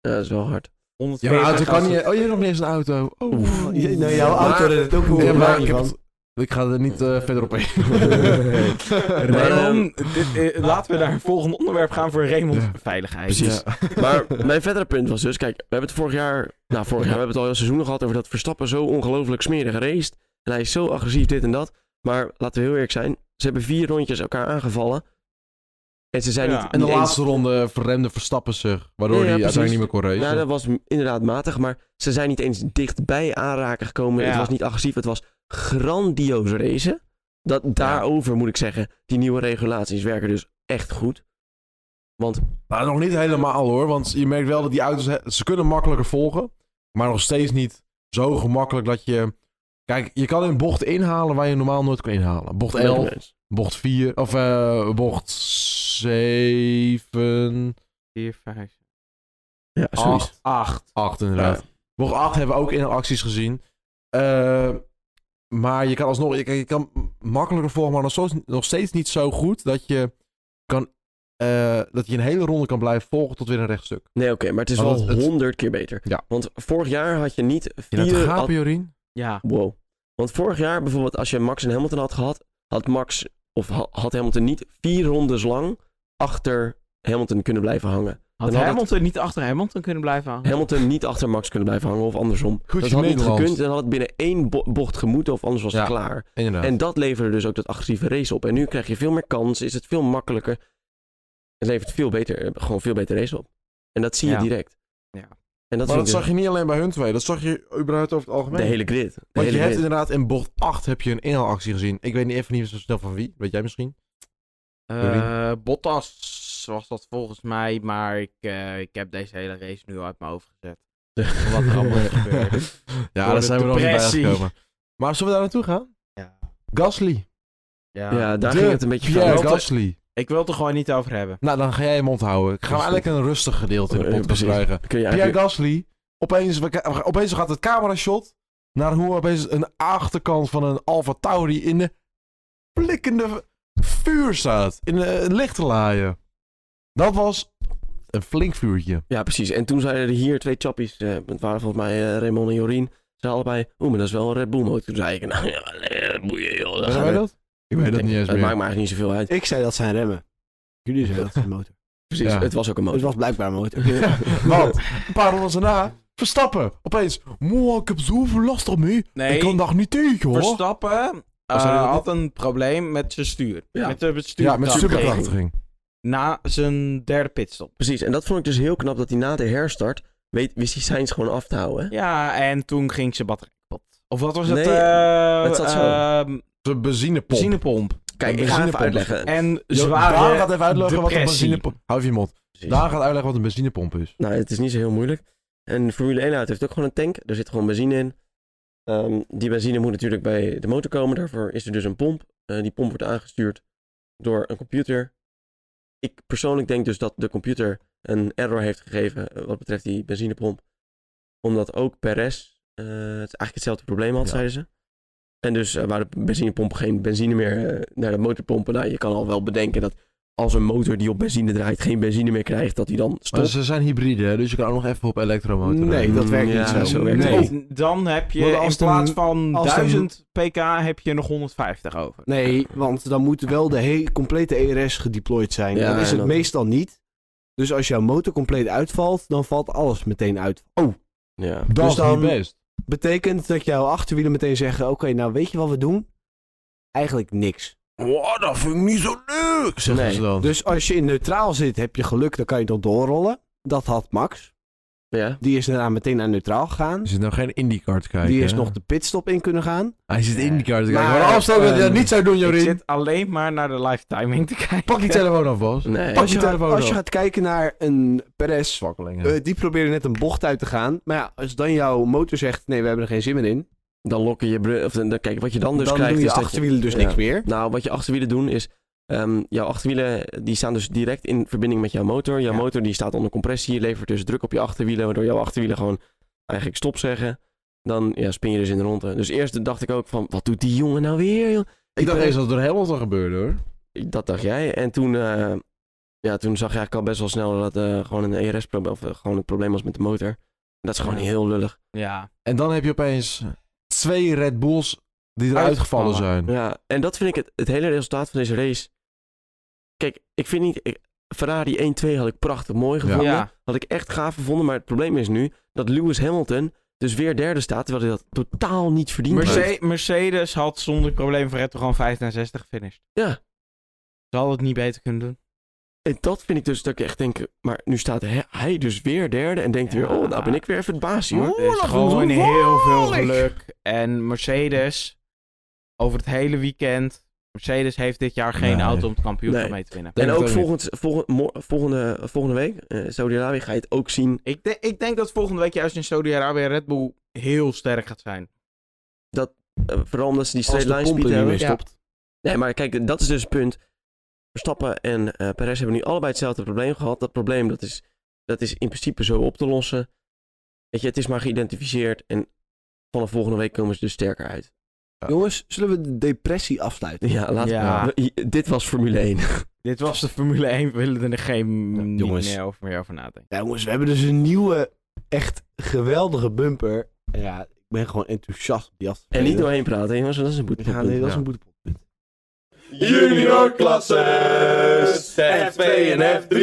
S4: Ja, dat is wel hard.
S2: Ja, maar
S3: 140
S2: auto kan
S3: als het-
S2: niet... Oh, je hebt nog niet eens een auto. Oh.
S1: Oeh, je- nou, jouw
S4: Maar-
S1: auto redt het ook hoe
S2: Ja, maar ik, heb
S1: van.
S2: het- ik ga er niet eh, verder
S4: [laughs]
S2: op in.
S4: Maar, ehm,
S3: Daarom, dit, eh, [laughs] laten we naar het volgende onderwerp gaan voor Raymond's
S2: Ja.
S3: veiligheid.
S4: Precies.
S2: [laughs]
S4: Maar mijn verdere punt was dus, kijk, we hebben het vorig jaar, nou vorig jaar, we hebben het al heel seizoen gehad over dat Verstappen zo ongelooflijk smerig raced. En hij is zo agressief dit en dat. Maar laten we heel eerlijk zijn, ze hebben vier rondjes elkaar aangevallen. En ze zijn
S3: Ja,
S4: niet,
S2: En de
S4: niet eens-
S2: laatste ronde verremde Verstappen zich, waardoor
S4: Ja, ja,
S2: hij uiteindelijk niet
S4: precies.
S2: meer kon racen.
S4: Nou, dat was m- inderdaad matig, maar ze zijn niet eens dichtbij aanraken gekomen.
S3: Ja.
S4: Het was niet agressief, het was grandioos racen. Dat, daarover moet ik zeggen, die nieuwe regulaties werken dus echt goed. Want
S2: Nou, nog niet helemaal hoor, want je merkt wel dat die auto's, he- ze kunnen makkelijker volgen, maar nog steeds niet zo gemakkelijk dat je... Kijk, je kan in bocht inhalen waar je normaal nooit kan inhalen. Bocht 11,
S4: eh,
S2: bocht 4, of eh, bocht 7,
S3: 4, 5,
S4: Ja, zoiets.
S2: 8,
S3: 8.
S2: 8 inderdaad.
S4: Ja.
S2: Bocht 8 hebben we ook in acties gezien. Eh, maar je kan alsnog, je, kan- je kan makkelijker volgen, maar nog steeds, nog steeds niet zo goed dat je kan, eh, dat je een hele ronde kan blijven volgen tot weer een rechtstuk.
S4: Nee, oké, maar het is
S2: Maar
S4: wel
S2: dat- het-
S4: honderd keer beter.
S2: Ja.
S4: Want vorig jaar had je niet
S2: In het
S4: vier...
S2: gapen,
S4: ad-
S2: Jorien?
S3: Ja.
S4: Wow. Want vorig jaar bijvoorbeeld, als je Max en Hamilton had gehad, had Max, of ha- had Hamilton niet vier rondes lang achter Hamilton kunnen blijven hangen.
S3: Had
S4: Dan had
S3: Hamilton niet achter Hamilton kunnen blijven hangen?
S4: Hamilton niet achter Max kunnen blijven hangen of andersom.
S2: Goed
S4: dat had niet
S2: Nederlands.
S4: gekund en had het binnen één bo- bocht gemoeten of anders was het
S2: Ja.
S4: klaar.
S2: Inderdaad.
S4: En dat leverde dus ook dat agressieve race op. En nu krijg je veel meer kans, is het veel makkelijker. Het levert veel beter, eh, gewoon veel beter race op. En dat zie je
S3: Ja.
S4: direct.
S3: Ja.
S4: En dat
S2: maar
S4: vind
S2: dat
S4: ik
S2: zag je niet alleen bij hun twee, dat zag je überhaupt over het
S4: dus
S2: algemeen.
S4: de hele grid. De
S2: Want
S4: hele
S2: je hebt
S4: grid.
S2: inderdaad in bocht 8 heb je een inhaalactie gezien. Ik weet niet even niet zo snel van wie, weet jij
S4: [laughs]
S2: misschien?
S3: Eh, Bottas was dat volgens mij, maar ik, eh, ik heb deze hele race nu al uit mijn hoofd gezet. Wat er allemaal gebeurde.
S2: ja,
S3: Door
S2: daar
S3: de
S2: zijn we nog niet bij
S3: depressie.
S2: gekomen. Maar zullen we daar naartoe gaan?
S3: Ja.
S2: Gasly.
S3: Ja.
S4: Ja, daar
S2: De
S4: ging het een beetje
S2: Pierre
S4: fout.
S2: Gasly.
S3: Ik wil het er gewoon niet over hebben.
S2: Nou, dan ga jij je mond houden. Ik ga
S4: Precies.
S2: eigenlijk een rustig gedeelte in de
S4: Eh,
S2: podcast
S4: precies.
S2: krijgen.
S4: Kun je
S2: Pierre
S4: eigenlijk...
S2: Gasly. Opeens, we- opeens gaat het camera shot Naar hoe opeens een achterkant van een Alfa Tauri in de blikkende vuur staat. In de eh, lichterlaaien. Dat was een flink vuurtje.
S4: Ja, precies. En toen zeiden er hier twee chappies, eh, het waren volgens mij eh, Raymond en Jorien, zeiden allebei, oeh, maar dat is wel een Red Bull motor. Toen zei ik, nou ja, eh, boeien joh. dat
S2: Weet
S4: gaat
S2: jij
S4: wel.
S2: dat? Ik weet dat
S4: Nee,
S2: niet eens
S4: Het maakt
S2: meer.
S4: [laughs] me eigenlijk niet zoveel uit.
S1: Ik zei dat zijn remmen. Jullie [laughs] zeiden dat zijn motor.
S4: Precies,
S2: Ja.
S4: het was ook een motor.
S1: Het was blijkbaar een motor.
S2: Want een paar rondes daarna, Verstappen. Opeens, moe, ik heb zoveel last op mee.
S3: Nee.
S2: Ik kan daar niet tegen hoor.
S3: Verstappen eh,
S2: zou je dat
S3: had een probleem met zijn stuur.
S4: Ja.
S3: Met de stuur.
S2: Ja, met superkrachtiging.
S3: Na zijn derde pitstop.
S4: Precies, en dat vond ik dus heel knap dat hij na de herstart weet, wist hij Sainz gewoon af te houden. hè?
S3: Ja, en toen ging zijn batterij kapot. Of wat was het?
S4: Nee,
S3: Eh,
S4: het zat zo.
S3: ehm,
S2: De benzinepomp.
S3: benzinepomp.
S4: Kijk,
S2: Een
S4: ik ga even
S2: benzinepomp.
S4: uitleggen.
S3: En
S2: Jo,
S3: zware
S2: Daan gaat even uitleggen wat een
S3: depressie.
S2: benzinepomp... Hou even je mond.
S4: Precies.
S2: Daan gaat uitleggen wat een benzinepomp is.
S4: Nou, het is niet zo heel moeilijk. Een Formule 1 auto heeft ook gewoon een tank. Er zit gewoon benzine in. Ehm, die benzine moet natuurlijk bij de motor komen. Daarvoor is er dus een pomp. Eh, die pomp wordt aangestuurd door een computer. Ik persoonlijk denk dus dat de computer een error heeft gegeven eh, wat betreft die benzinepomp. Omdat ook Perez eh, het eigenlijk hetzelfde probleem had,
S2: Ja.
S4: zeiden ze. En dus eh, waar de benzinepomp geen benzine meer eh, naar de motor pompen. Nou, je kan al wel bedenken dat als een motor die op benzine draait geen benzine meer krijgt, dat die dan
S2: Maar
S4: stopt.
S2: ze zijn hybride, hè, dus je kan ook nog even op elektromotor.
S1: Nee,
S2: rijden.
S1: dat werkt
S4: Ja,
S1: niet zo.
S4: zo werkt het
S1: nee.
S4: niet.
S3: Nee, dan heb je
S1: Want als
S3: in plaats
S1: de-
S3: van
S1: als de-
S3: 1000 pk heb je nog 150 over.
S1: nee, want dan moet wel de he- complete ERS gedeployed zijn.
S4: Ja,
S1: dat is
S4: en
S1: het
S4: dat-
S1: meestal niet. Dus als jouw motor compleet uitvalt, dan valt alles meteen uit.
S4: Ja.
S2: Dat
S1: Dus
S2: is niet
S1: dan-
S2: best.
S1: Betekent dat jouw achterwielen meteen zeggen: Oké, nou weet je wat we doen? Eigenlijk niks.
S2: Wow, dat vind ik niet zo leuk, zeggen
S4: Nee.
S2: ze dan.
S1: Dus als je in neutraal zit, heb je geluk, dan kan je nog doorrollen. Dat had Max.
S4: Ja.
S1: Die is daarna meteen naar neutraal gegaan.
S2: Er zit nou geen IndyCar te kijken.
S1: Die is
S2: hè?
S1: nog de pitstop in kunnen gaan.
S2: Hij zit
S3: Nee.
S2: IndyCar te kijken.
S1: Maar,
S2: Maar, afstel dat je dat
S1: ehm,
S2: niet zou doen,
S3: Ik
S2: Jorien.
S3: zit alleen maar naar de lifetiming te kijken. [laughs]
S2: Pak die telefoon af, [laughs] Bas.
S4: Nee.
S2: Pak
S1: Als je,
S2: je
S1: gaat,
S2: telefoon
S1: als
S2: op.
S1: je gaat kijken naar een Perez,
S2: Zwakkelingen.
S1: eh, die probeerde net een bocht uit te gaan. Maar ja, als dan jouw motor zegt: Nee, we hebben er geen zin meer in.
S4: Dan lokken je brug. Of dan, dan- kijk, wat je dan dus
S1: dan
S4: krijgt.
S1: doen je
S4: is dat
S1: achterwielen dus
S4: ja.
S1: niks meer.
S4: Nou, wat je achterwielen doen is. ehm, jouw achterwielen die staan dus direct in verbinding met jouw motor. Jouw
S3: Ja.
S4: motor die staat onder compressie. Je levert dus druk op je achterwielen. Waardoor jouw achterwielen gewoon eigenlijk stop zeggen. Dan ja, spin je dus in de ronde. Dus eerst dacht ik ook van. Wat doet die jongen nou weer, joh?
S2: ik dacht eens dat het door Hamilton gebeurde, hoor.
S4: Dat dacht jij. En toen. eh, ja, toen zag je eigenlijk al best wel snel dat eh gewoon een ERS-probleem. Of eh, gewoon het probleem was met de motor. En dat is gewoon
S3: Ja.
S4: heel lullig.
S3: Ja.
S2: En dan heb je opeens twee Red Bulls die eruit
S3: Uitgevallen.
S2: gevallen zijn.
S4: Ja, en dat vind ik het, het hele resultaat van deze race. Kijk, ik vind niet. ik- Ferrari 1-2 had ik prachtig mooi gevonden.
S3: Ja.
S4: Had ik echt gaaf gevonden. Maar het probleem is nu dat Lewis Hamilton dus weer derde staat. Terwijl hij dat totaal niet verdient. heeft.
S3: Merce- Mercedes had zonder probleem Verretto gewoon 15 en 60 gefinished.
S4: Ja.
S3: Ze hadden het niet beter kunnen doen.
S4: En dat vind ik dus dat ik echt denk. Maar nu staat hij- hij dus weer derde. En denkt
S3: Ja.
S4: weer: oh, nou ben ik weer even het baas, joh.
S2: Oeh,
S3: Er is
S2: dat
S3: gewoon
S2: is
S3: heel veel
S2: gevaarlijk.
S3: geluk. En Mercedes, over het hele weekend. Mercedes heeft dit jaar geen
S2: Nee.
S3: auto om het kampioenschap
S4: Nee.
S3: mee te winnen.
S2: Denk
S4: En
S2: het
S4: ook
S2: ook niet.
S4: volgend, volgend- mo- volgende, volgende week, eh Saudi-Arabië, ga je het ook zien.
S3: Ik, denk- ik denk dat volgende week juist in Saudi-Arabië Red Bull heel sterk gaat zijn.
S4: eh, vooral omdat ze die
S1: Als
S4: straight
S1: de
S4: line
S1: pomp er
S4: speed
S1: niet
S4: hebben.
S1: meer
S3: Ja.
S1: stopt.
S4: Nee, maar kijk, dat is dus het punt. Verstappen en eh Perez hebben nu allebei hetzelfde probleem gehad. Dat probleem dat is, dat is in principe zo op te lossen. Weet je, het is maar geïdentificeerd en vanaf volgende week komen ze dus sterker uit. [laughs]
S2: Ja.
S1: Jongens, zullen we de depressie afsluiten?
S4: Ja, laten
S3: Ja.
S4: we- we- Dit was Formule [laughs] 1.
S3: Dit was de Formule 1. We willen er geen
S1: Ja,
S3: niet
S1: jongens.
S3: meer over, meer over nadenken.
S1: Ja, jongens, we hebben dus een nieuwe, echt geweldige bumper. En Ja, ik ben gewoon enthousiast op die
S4: En
S1: afspeling.
S4: niet doorheen praten, jongens, want dat is een boete.
S1: Ja, nee, dat is
S2: Ja.
S1: een boetepot.
S5: Junior klasses, F2 en F3.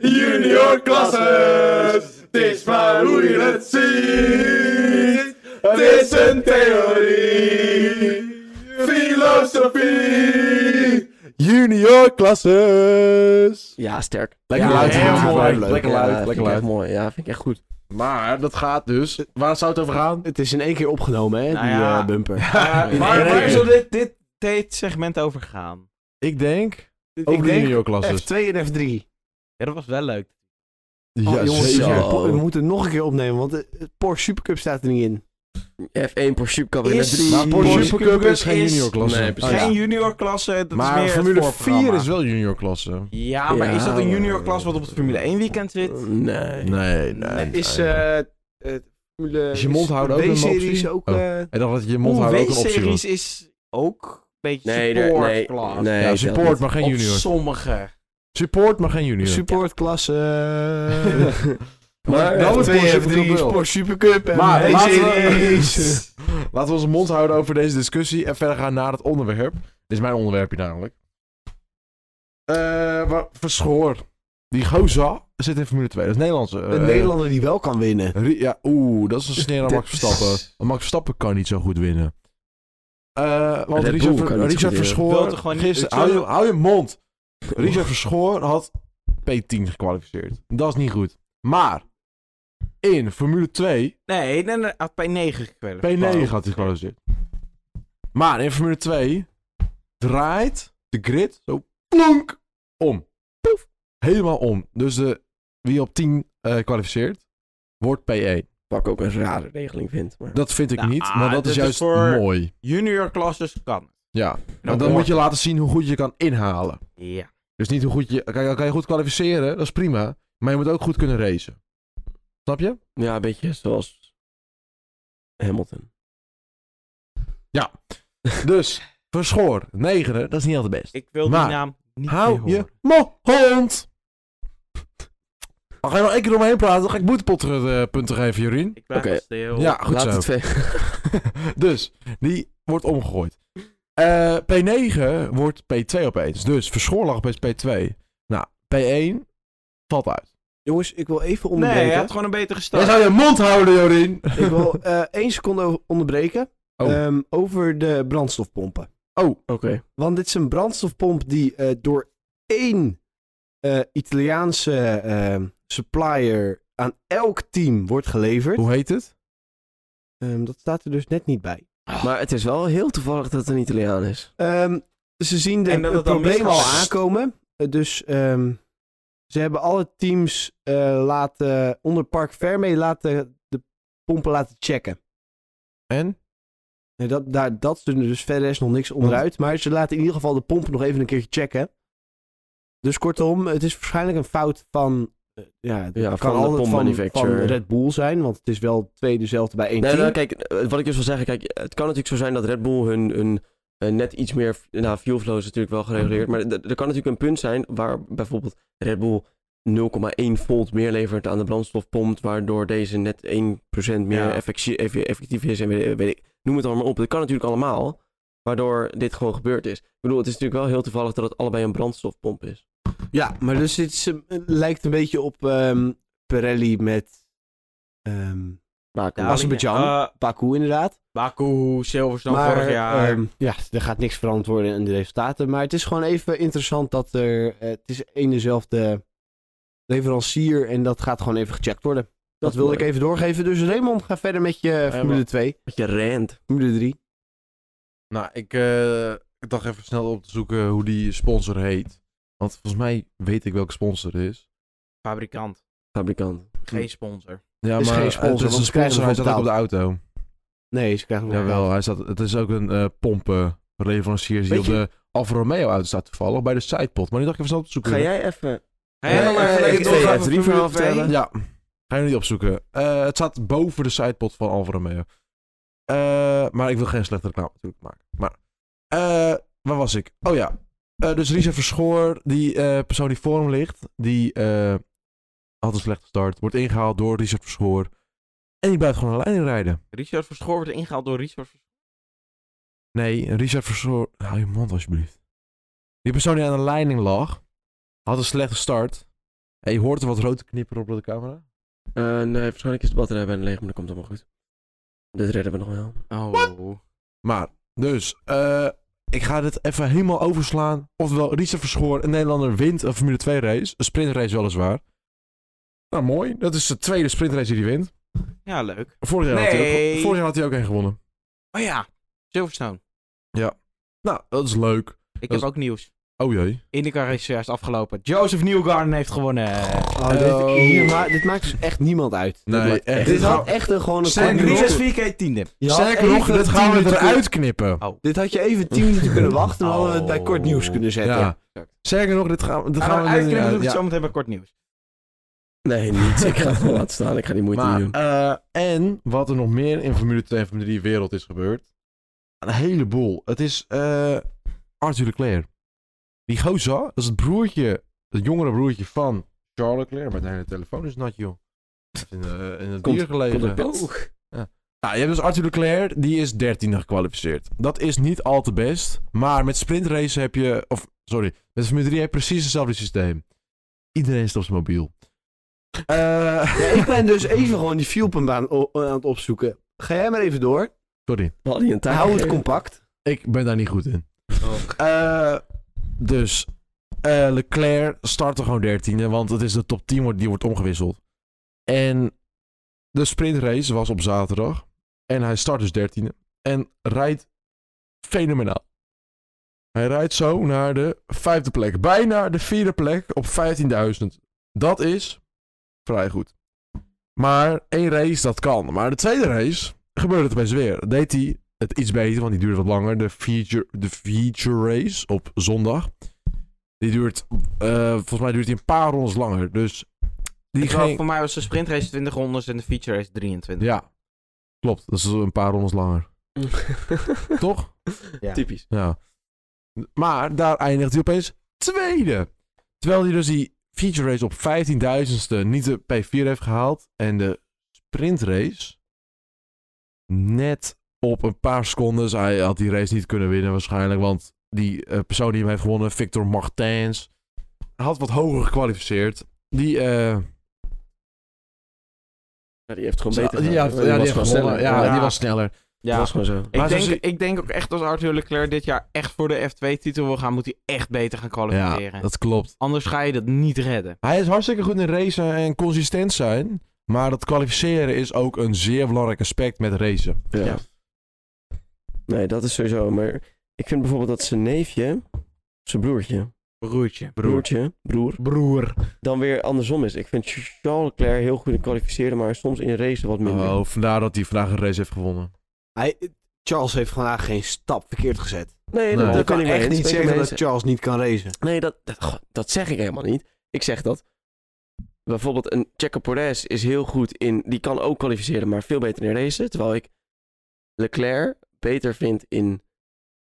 S5: Junior klasses, het is maar hoe je het ziet. Het is een theorie, filosofie.
S2: Junior klasses!
S4: Ja, sterk.
S2: Lekker
S1: Ja,
S2: luid,
S1: heel
S2: jongens.
S1: mooi.
S2: Lekker luid,
S1: Lekker
S2: lekker
S4: ja,
S2: luid,
S4: vind
S2: lekker
S4: ik echt
S2: luid.
S4: mooi. Ja, vind ik echt goed.
S2: Maar dat gaat dus. Waar zou het over gaan?
S1: Het is in één keer opgenomen, hè,
S3: Nou
S1: die
S3: ja.
S1: eh, bumper.
S3: Maar waar, waar zal dit, dit, dit segment over gaan?
S2: Ik denk. Over
S1: ik
S2: de
S1: denk
S2: junior klasses.
S1: F2 en F3.
S3: Ja, dat was wel leuk.
S1: Oh, jongens,
S4: zeker.
S1: ja, po- we moeten nog een keer opnemen, want het Porsche Supercup staat er niet in.
S4: F1 Porsche Supercup en
S3: Is-
S4: F3.
S2: Maar Porsche
S3: Porsche
S2: Supercup is geen
S3: is-
S2: junior klasse.
S4: Nee, precies.
S2: Oh, ja.
S3: Geen junior klasse, dat is
S2: Maar
S3: meer het
S2: Formule 4
S3: voorprogramma.
S2: is wel junior klasse.
S3: Ja, maar is dat een
S4: Ja,
S3: junior klas wat op het Formule 1 weekend zit?
S4: Nee.
S2: Nee, nee.
S1: Het is
S2: nee.
S1: eh, eh, Formule
S2: Is je mond houden ook een
S1: W-series
S2: optie?
S1: ook.
S2: Oh.
S1: eh,
S2: En dat het je mond houden ook een optie was.
S3: series is ook een beetje
S4: Nee, er-
S3: support
S4: nee,
S3: class.
S4: nee.
S2: Ja,
S4: dat
S2: support,
S4: niet.
S2: maar geen
S3: Op
S2: junior.
S3: sommige.
S2: Support, maar geen junior.
S1: [laughs] Supportklasse.
S4: Maar-
S2: Dat
S1: F2,
S2: wordt Porsche voor
S1: F3,
S2: Trubel.
S1: eh, Sport Supercup en
S2: Maar laten we-
S1: W-series. [laughs]
S2: Laten we onze mond houden over deze discussie en verder gaan naar het onderwerp. Dit is mijn onderwerpje namelijk. Eh, wa- Verschoor. Die Goza zit in Formule 2. Dat is Nederlandse. eh,
S1: Een Nederlander die wel kan winnen.
S2: Ri- Ja, oeh, dat is
S3: [laughs]
S2: een sneer aan
S1: Dit
S2: Max Verstappen.
S1: is-
S2: Want Max Verstappen kan niet zo goed winnen. Eh, want
S4: Bull
S2: Richard, Ver-
S4: kan niet zo
S2: Richard
S4: goed winnen.
S2: Verschoor...
S3: Wil toch gewoon niet-
S2: gisteren, hou, je, hou je mond. Richard Verschoor had P10 gekwalificeerd. Dat is niet goed. Maar in Formule 2
S3: Nee, nee, nee, had P9 gekweld.
S2: P9 had hij gekwalificeerd. Maar in Formule 2 draait de grid zo plonk om. Poef. Helemaal om. Dus de, wie op 10 eh, kwalificeert, wordt P1.
S4: Wat ik ook een rare regeling vind. Maar...
S2: Dat vind ik
S3: Nou,
S2: niet, maar dat
S3: dat
S2: is
S3: is
S2: juist
S3: voor-
S2: mooi.
S3: Junior classes kan.
S2: Ja,
S3: Nou,
S2: want dan moet je laten zien hoe goed je kan inhalen.
S3: Ja.
S2: Dus niet hoe goed je... Kan, je- kan je goed kwalificeren, dat is prima. Maar je moet ook goed kunnen racen. Snap [laughs] je?
S4: Ja, een beetje zoals Hamilton.
S2: Dus, Verschoor, negende, dat is niet altijd best.
S3: Ik wil
S2: Maar,
S3: die naam niet meer
S2: Hou
S3: horen.
S2: je mond! Dan ga je nog één keer omheen praten, dan ga ik boetepunten geven, Jorien. [laughs]
S3: Ik ben
S4: Oké.
S3: stil.
S2: Ja, goed
S4: Laat
S2: zo.
S4: het twee.
S2: Dus, die wordt omgegooid. Eh, P9 wordt P2 opeens. Dus Verschoor lag opeens P2. Nou, P1 valt uit.
S1: Jongens, ik wil even
S3: Nee, hij
S1: onderbreken.
S3: had
S1: [laughs]
S3: gewoon een betere
S2: Jij
S3: start.
S2: zou je mond houden, Jorien!
S1: ik wil eh, één seconde o- onderbreken.
S2: Oh.
S1: Ehm, over de brandstofpompen.
S4: Oké.
S1: Want dit is een brandstofpomp die eh, door één eh, Italiaanse ehm, supplier aan elk team wordt geleverd.
S2: Hoe heet het?
S1: Ehm, dat staat er dus net niet bij.
S2: Ah.
S4: Maar het is wel heel toevallig dat het een Italiaan is.
S1: Ehm, ze zien de,
S3: En dat
S1: het
S3: het dan
S1: probleem al
S3: misgaat.
S1: aankomen. Eh, dus ehm, ze hebben alle teams eh, laten, onder Park Vermee laten de pompen laten checken.
S2: En?
S1: Nee, dat, daar, dat is er dus verder is nog niks onderuit. Maar ze laten in ieder geval de pomp nog even een keertje checken. Dus kortom, het is waarschijnlijk een fout van. eh, Ja, het
S4: Ja,
S1: kan
S4: van de
S1: altijd
S4: pomp
S1: van, van
S4: manufacturer.
S1: Red Bull zijn, want het is wel twee dezelfde bij één
S4: Nee,
S1: team.
S4: nou, kijk, eh, wat ik dus wil zeggen, kijk, het kan natuurlijk zo zijn dat Red Bull hun, hun eh, net iets meer, nou, fuel flow is natuurlijk wel gereguleerd, maar d- d- er kan natuurlijk een punt zijn waar bijvoorbeeld Red Bull 0,1 volt meer levert aan de brandstofpomp, waardoor deze net 1% meer
S3: Ja.
S4: effectie- eff- effectief is en weet, weet ik, noem het allemaal op. Dat kan natuurlijk allemaal, waardoor dit gewoon gebeurd is. Ik bedoel, het is natuurlijk wel heel toevallig dat het allebei een brandstofpomp is.
S1: Ja, maar dus dit is, eh, lijkt een beetje op ehm, Pirelli met ehm
S4: Baku.
S3: Ja,
S1: Azerbaijan.
S3: eh,
S1: Baku inderdaad.
S3: Baku, Silverstone
S1: maar
S3: vorig jaar.
S1: ehm, ja, er gaat niks veranderd worden in de resultaten. Maar het is gewoon even interessant dat er... eh, het is één dezelfde leverancier en dat gaat gewoon even gecheckt worden. Dat,
S4: is
S1: wilde
S4: mooi.
S1: ik even doorgeven. Dus Raymond, ga verder met je Formule
S2: maar-
S1: 2,
S4: Dat je rent.
S1: Formule 3.
S2: Nou, ik, eh, ik dacht even snel op te zoeken hoe die sponsor heet. Want volgens mij weet ik welke sponsor het is.
S3: Fabrikant.
S4: Fabrikant.
S3: Geen sponsor.
S2: hm. Ja,
S1: is
S2: maar
S1: geen sponsor,
S2: het
S1: want
S2: is een
S1: ze krijgen
S2: sponsor, hij
S1: ervoor
S2: staat ook op de auto.
S1: Nee, ze krijgen nog
S2: Jawel, hij staat, het is ook een eh pompenleverancier die
S4: Weet
S2: op
S4: je-
S2: de Alfa Romeo auto staat toevallig, bij de sidepod. Maar nu dacht ik even snel op te zoeken.
S4: Ga jij even...
S3: Hey,
S2: eh,
S3: maar
S2: eh,
S3: gelijk
S2: F2,
S3: doorgaan
S4: F3
S3: voor Formule
S4: verhaal
S3: 2.
S4: vertellen?
S2: Ja, ga je niet opzoeken. Eh, het staat boven de sidepod van Alfa Romeo. Eh, maar ik wil geen slechte reclame natuurlijk maken. Maar, eh, waar was ik? Oh ja, Eh, dus Richard Verschoor, die eh, persoon die voor hem ligt, die eh, had een slechte start. Wordt ingehaald door Richard Verschoor. En die blijft gewoon een leiding rijden.
S3: Richard Verschoor wordt ingehaald door Richard Verschoor.
S2: Nee, Richard Verschoor... Hou je mond alsjeblieft. Die persoon die aan de leiding lag, had een slechte start. En je hoort er wat rood knipperen op de camera.
S4: Eh, nee, waarschijnlijk is de batterij bijna leeg, maar dat komt allemaal goed. Dit redden we nog wel.
S3: Oh.
S2: Maar, dus, eh, ik ga dit even helemaal overslaan. Oftewel, Richard Verschoor, een Nederlander, wint een Formule 2 race. Een sprintrace weliswaar. Nou, mooi. Dat is de tweede sprintrace die hij wint.
S3: Ja, leuk.
S2: Vorig jaar, had, hij ook,
S3: Nee.
S2: vorig jaar had hij ook één gewonnen.
S3: Oh ja, Silverstone.
S2: Nou, dat is leuk.
S3: Ik
S2: Dat
S3: heb
S2: is-
S3: ook nieuws.
S2: Oh jee.
S3: Indica race is juist afgelopen. Joseph Newgarden heeft gewonnen.
S1: Oh,
S2: Oh.
S1: dit, hier ma- dit maakt dus echt niemand uit. Dit
S2: Nee,
S1: maakt-
S2: echt.
S1: Dit had
S2: Dit
S1: echt een, gewoon een...
S2: Sterker
S1: kwart
S2: nog,
S1: minuut-
S2: Richard-
S3: 4K tiende.
S1: Je had
S2: Sterker nog,
S1: even
S2: dit
S1: 10
S2: gaan we
S1: minuten kunnen-
S2: eruit knippen.
S1: Dit had je even 10 minuten kunnen wachten, dan hadden we het bij kort
S2: Oh.
S1: nieuws kunnen zetten.
S2: Ja. Sterker nog, dit gaan, dit
S3: Gaan
S2: gaan
S3: we
S2: we...
S3: uitknippen, doe ik
S2: ja.
S3: het zometeen bij kort nieuws.
S4: Nee, niet. Ik ga het gewoon laten staan. Ik ga die moeite
S2: Maar,
S4: niet doen.
S2: eh, en wat er nog meer in Formule 2 en Formule 3 wereld is gebeurd. Een heleboel. Het is eh, Arthur Leclerc. Die gozer, dat is het broertje, het jongere broertje van Charles Leclerc. Mijn hele telefoon is nat, joh. Dat is In, de- in het
S4: Komt-
S2: bier gelegen.
S4: komt er-
S2: Nou, je hebt dus Arthur Leclerc, die is 13e gekwalificeerd. Dat is niet al te best, maar met sprintracen heb je, of sorry, met Formule 3 heb je precies hetzelfde systeem. Iedereen is op zijn mobiel. Eh,
S1: Ja, ik ben dus even gewoon die fuelpumpbaan o- aan het opzoeken. Ga jij maar even door.
S2: sorry,
S4: We hadden je een taak
S1: Hou het
S4: gegeven.
S1: compact.
S2: ik ben daar niet goed in. Eh, dus eh, Leclerc start er gewoon 13e, want het is de top 10 wordt- die wordt omgewisseld. En de sprintrace was op zaterdag. En hij start dus 13e. En rijdt fenomenaal. Hij rijdt zo naar de vijfde plek. Bijna de vierde plek op 15.000. Dat is vrij goed. Maar één race, dat kan. Maar de tweede race gebeurde het opeens weer. Deed hij het iets beter, want die duurde wat langer. De feature, de feature race op zondag. Die duurt, eh, volgens mij duurt die een paar rondes langer. Dus die
S3: Terwijl
S2: ging...
S3: Voor mij was de sprintrace 20 rondes en de feature race 23.
S2: Ja, klopt. Dat is een paar rondes langer. Toch?
S3: Ja.
S4: [laughs] Typisch.
S2: Ja. Maar daar eindigt hij opeens tweede. Terwijl hij dus die feature race op 15.000ste niet de P4 heeft gehaald. En de sprintrace net op een paar seconden. Dus Hij had die race niet kunnen winnen waarschijnlijk. Want die eh, persoon die hem heeft gewonnen, Victor Martens, had wat hoger gekwalificeerd. Die... eh,
S4: Ja, die heeft gewoon
S2: ja,
S4: beter
S2: die,
S4: gedaan.
S2: had- ja, die
S4: was
S2: heeft gewonnen.
S4: gewoon sneller.
S2: Ja,
S4: Ja,
S2: die was sneller.
S4: dat
S3: Ja.
S4: was gewoon zo.
S2: Maar
S3: Ik, denk,
S2: ze-
S3: ik denk ook echt als Arthur Leclerc dit jaar echt voor de F2-titel wil gaan, moet hij echt beter gaan kwalificeren.
S2: Ja, dat klopt.
S3: Anders ga je dat niet redden.
S2: Hij is hartstikke goed in racen en consistent zijn. Maar dat kwalificeren is ook een zeer belangrijk aspect met racen.
S4: Ja.
S3: Ja.
S4: Nee, dat is sowieso. Maar ik vind bijvoorbeeld dat zijn neefje, zijn broertje,
S3: Broertje.
S4: broertje, broer,
S2: Broer.
S4: dan weer andersom is. Ik vind Charles Leclerc heel goed in kwalificeren, maar soms in race wat minder.
S2: Oh, vandaar dat hij vandaag een race heeft gewonnen.
S1: Hij, Charles heeft vandaag geen stap verkeerd gezet.
S4: Nee, dat,
S2: Nee.
S4: dat
S1: Ik
S4: kan
S1: kan
S4: ik mee
S1: echt
S4: eens,
S1: niet
S4: ben ik
S1: zeggen
S4: mee
S1: dat
S4: eens.
S1: Charles niet kan racen.
S4: Nee, dat, dat, goh, dat zeg ik helemaal niet. Ik zeg dat. Bijvoorbeeld een Checo Perez is heel goed in... Die kan ook kwalificeren, maar veel beter in racen. Terwijl ik Leclerc beter vind in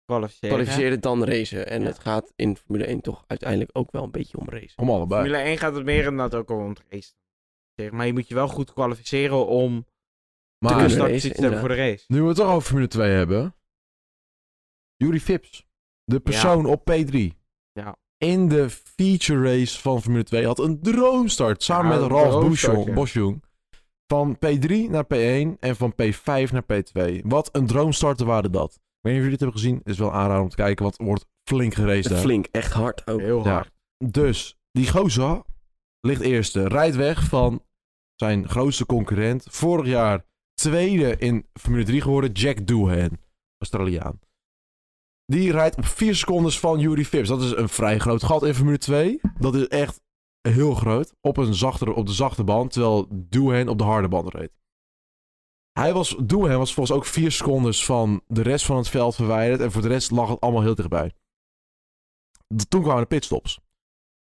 S3: Kwalificeren.
S4: kwalificeren dan racen. En
S3: Ja.
S4: het gaat in Formule 1 toch uiteindelijk ook wel een beetje om racen.
S2: Om allebei.
S3: Formule 1 gaat het meer inderdaad ook om het race. Zeg, Maar je moet je wel goed kwalificeren om een
S4: te kunnen
S2: Maar
S4: racen,
S3: startpositie te hebben voor de race.
S2: nu we het toch over Formule 2 hebben. Jury Phipps. De persoon op P3.
S3: Ja.
S2: In de feature race van Formule 2 had een droomstart. Samen
S3: Ja,
S2: met
S3: een
S2: Ralf
S3: droomstart,
S2: Bouchon-
S3: ja.
S2: Bosjong. Van P3 naar P1 en van P5 naar P2. Wat een droomstarten waren dat. Ik weet niet of jullie dit hebben gezien. Is wel aanraden om te kijken, want er wordt flink geraced daar.
S4: Flink, echt hard ook.
S3: Heel
S2: Ja.
S3: hard.
S2: Dus die Goza ligt eerste. Rijdt weg van zijn grootste concurrent. Vorig jaar tweede in Formule 3 geworden. Jack Doohan, Australiaan. Die rijdt op 4 secondes van Yuri Phipps. Dat is een vrij groot gat in Formule 2. Dat is echt heel groot. Op, een zachtere, op de zachte band. Terwijl Doohan op de harde band reed. Hij was, Doohan was volgens ook 4 secondes van de rest van het veld verwijderd. En voor de rest lag het allemaal heel dichtbij. D- Toen kwamen de pitstops.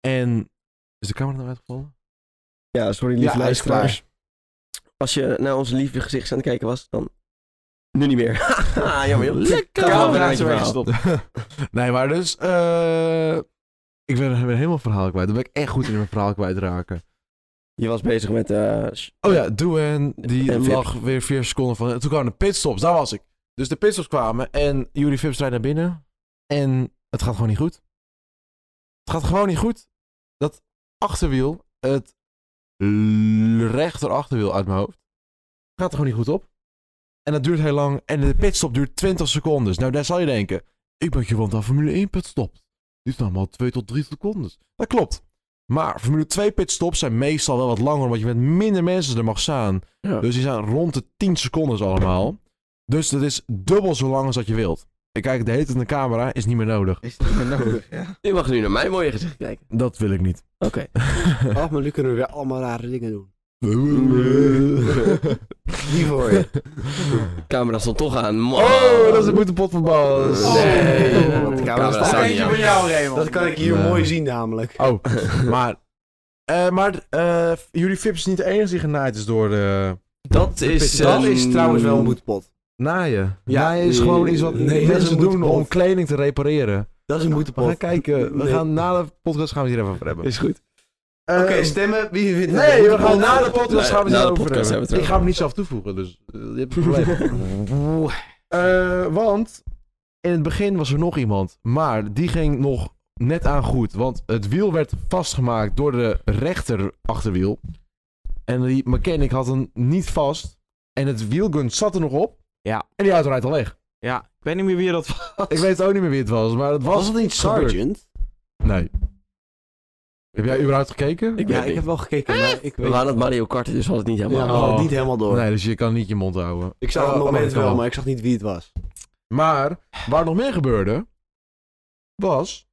S2: En. Is de camera nou uitgevallen?
S4: Ja, sorry
S1: lieve Ja, hij is luisteraars.
S4: Als je naar ons lieve gezicht aan het kijken was, dan nu niet meer. [laughs] Haha, Jammer, joh.
S2: Lekker!
S4: Camera is
S3: weer
S4: weggestopt.
S2: [laughs] nee, maar dus. eh, ik ben, ben helemaal verhaal kwijt. Dan ben ik echt goed in mijn verhaal kwijtraken.
S4: Je was bezig met... eh, sh-
S2: Oh ja, Doen die
S4: En
S2: lag weer 4 seconden van. En toen kwamen de pitstops, daar was ik. Dus de pitstops kwamen en Jury Vips rijdt naar binnen. En het gaat gewoon niet goed. Het gaat gewoon niet goed. Dat achterwiel, het l- rechter achterwiel uit mijn hoofd, gaat er gewoon niet goed op. En dat duurt heel lang. En de pitstop duurt 20 seconden. Nou, daar zal je denken. Ik ben gewend aan Formule 1 pitstops. Die is normaal 2 tot 3 seconden. Dat klopt. Maar Formule 2 pitstops zijn meestal wel wat langer, omdat je met minder mensen er mag staan.
S4: Ja.
S2: Dus die zijn rond de 10 seconden allemaal. Dus dat is dubbel zo lang als dat je wilt. Ik kijk de hele tijd naar de camera, is niet meer nodig.
S3: Is het niet meer nodig? ja.
S4: Je mag nu naar mijn mooie gezicht kijken.
S2: Dat wil ik
S1: [laughs]
S2: niet.
S4: Oké.
S1: Ach, Oh, maar nu kunnen we weer allemaal rare dingen doen.
S2: Die [laughs]
S1: voor je.
S4: Camera stond toch aan. Man.
S2: Oh, dat is een boete pot van Bas.
S4: Nee.
S1: Oh.
S4: Camera staat niet
S3: Eentje
S4: aan.
S3: voor jou, Raymond.
S1: Dat kan ik hier
S2: Nee.
S1: mooi zien namelijk.
S2: Oh, [laughs] maar Eh, maar eh, jullie Fips is niet de enige die genaaid is door eh, de
S4: Dat is...
S1: Dat
S4: ehm,
S1: is trouwens wel een moedpot.
S2: naaien.
S1: Ja.
S2: naaien is gewoon iets wat
S1: Nee, dat is
S2: mensen
S1: een
S2: doen
S1: moedpot.
S2: om kleding te repareren.
S1: Dat is een
S2: We gaan
S1: moedpot.
S2: kijken. We
S1: Nee.
S2: gaan na de podcast gaan we het hier even over hebben.
S4: Is goed.
S1: Oké,
S2: Eh,
S1: stemmen. Wie vindt het?
S2: nee, we
S1: moedpot?
S2: gaan na de podcast gaan we het
S4: Na de
S2: hierover
S4: podcast hebben we
S2: hebben. Ik
S4: het erover.
S2: ga hem niet zelf toevoegen, dus eh, je hebt een probleem.
S4: [laughs]
S2: Eh, want in het begin was er nog iemand, maar die ging nog net aan goed. Want het wiel werd vastgemaakt door de rechter achterwiel. En die mechanic had hem niet vast. En het wielgun zat er nog op.
S3: Ja.
S2: En die auto rijdt al weg.
S3: Ja, ik weet niet meer wie dat was.
S2: Ik weet ook niet meer wie het was, maar het was...
S1: Was het niet
S2: gebeurd.
S1: Sergeant?
S2: Nee. Heb jij überhaupt gekeken?
S4: Ik weet
S1: Ja,
S4: het
S1: ik
S4: niet.
S1: heb wel gekeken, maar ik
S4: We
S1: weet
S4: waren het Mario Kart, dus was het niet helemaal.
S1: ja,
S2: Oh.
S1: het niet helemaal door.
S2: Nee, dus je kan niet je mond houden.
S1: Ik zag
S2: Oh,
S1: het
S2: oh,
S1: moment
S2: dat kan
S1: wel,
S2: wel.
S1: maar ik zag niet wie het was.
S2: Maar waar nog meer gebeurde, was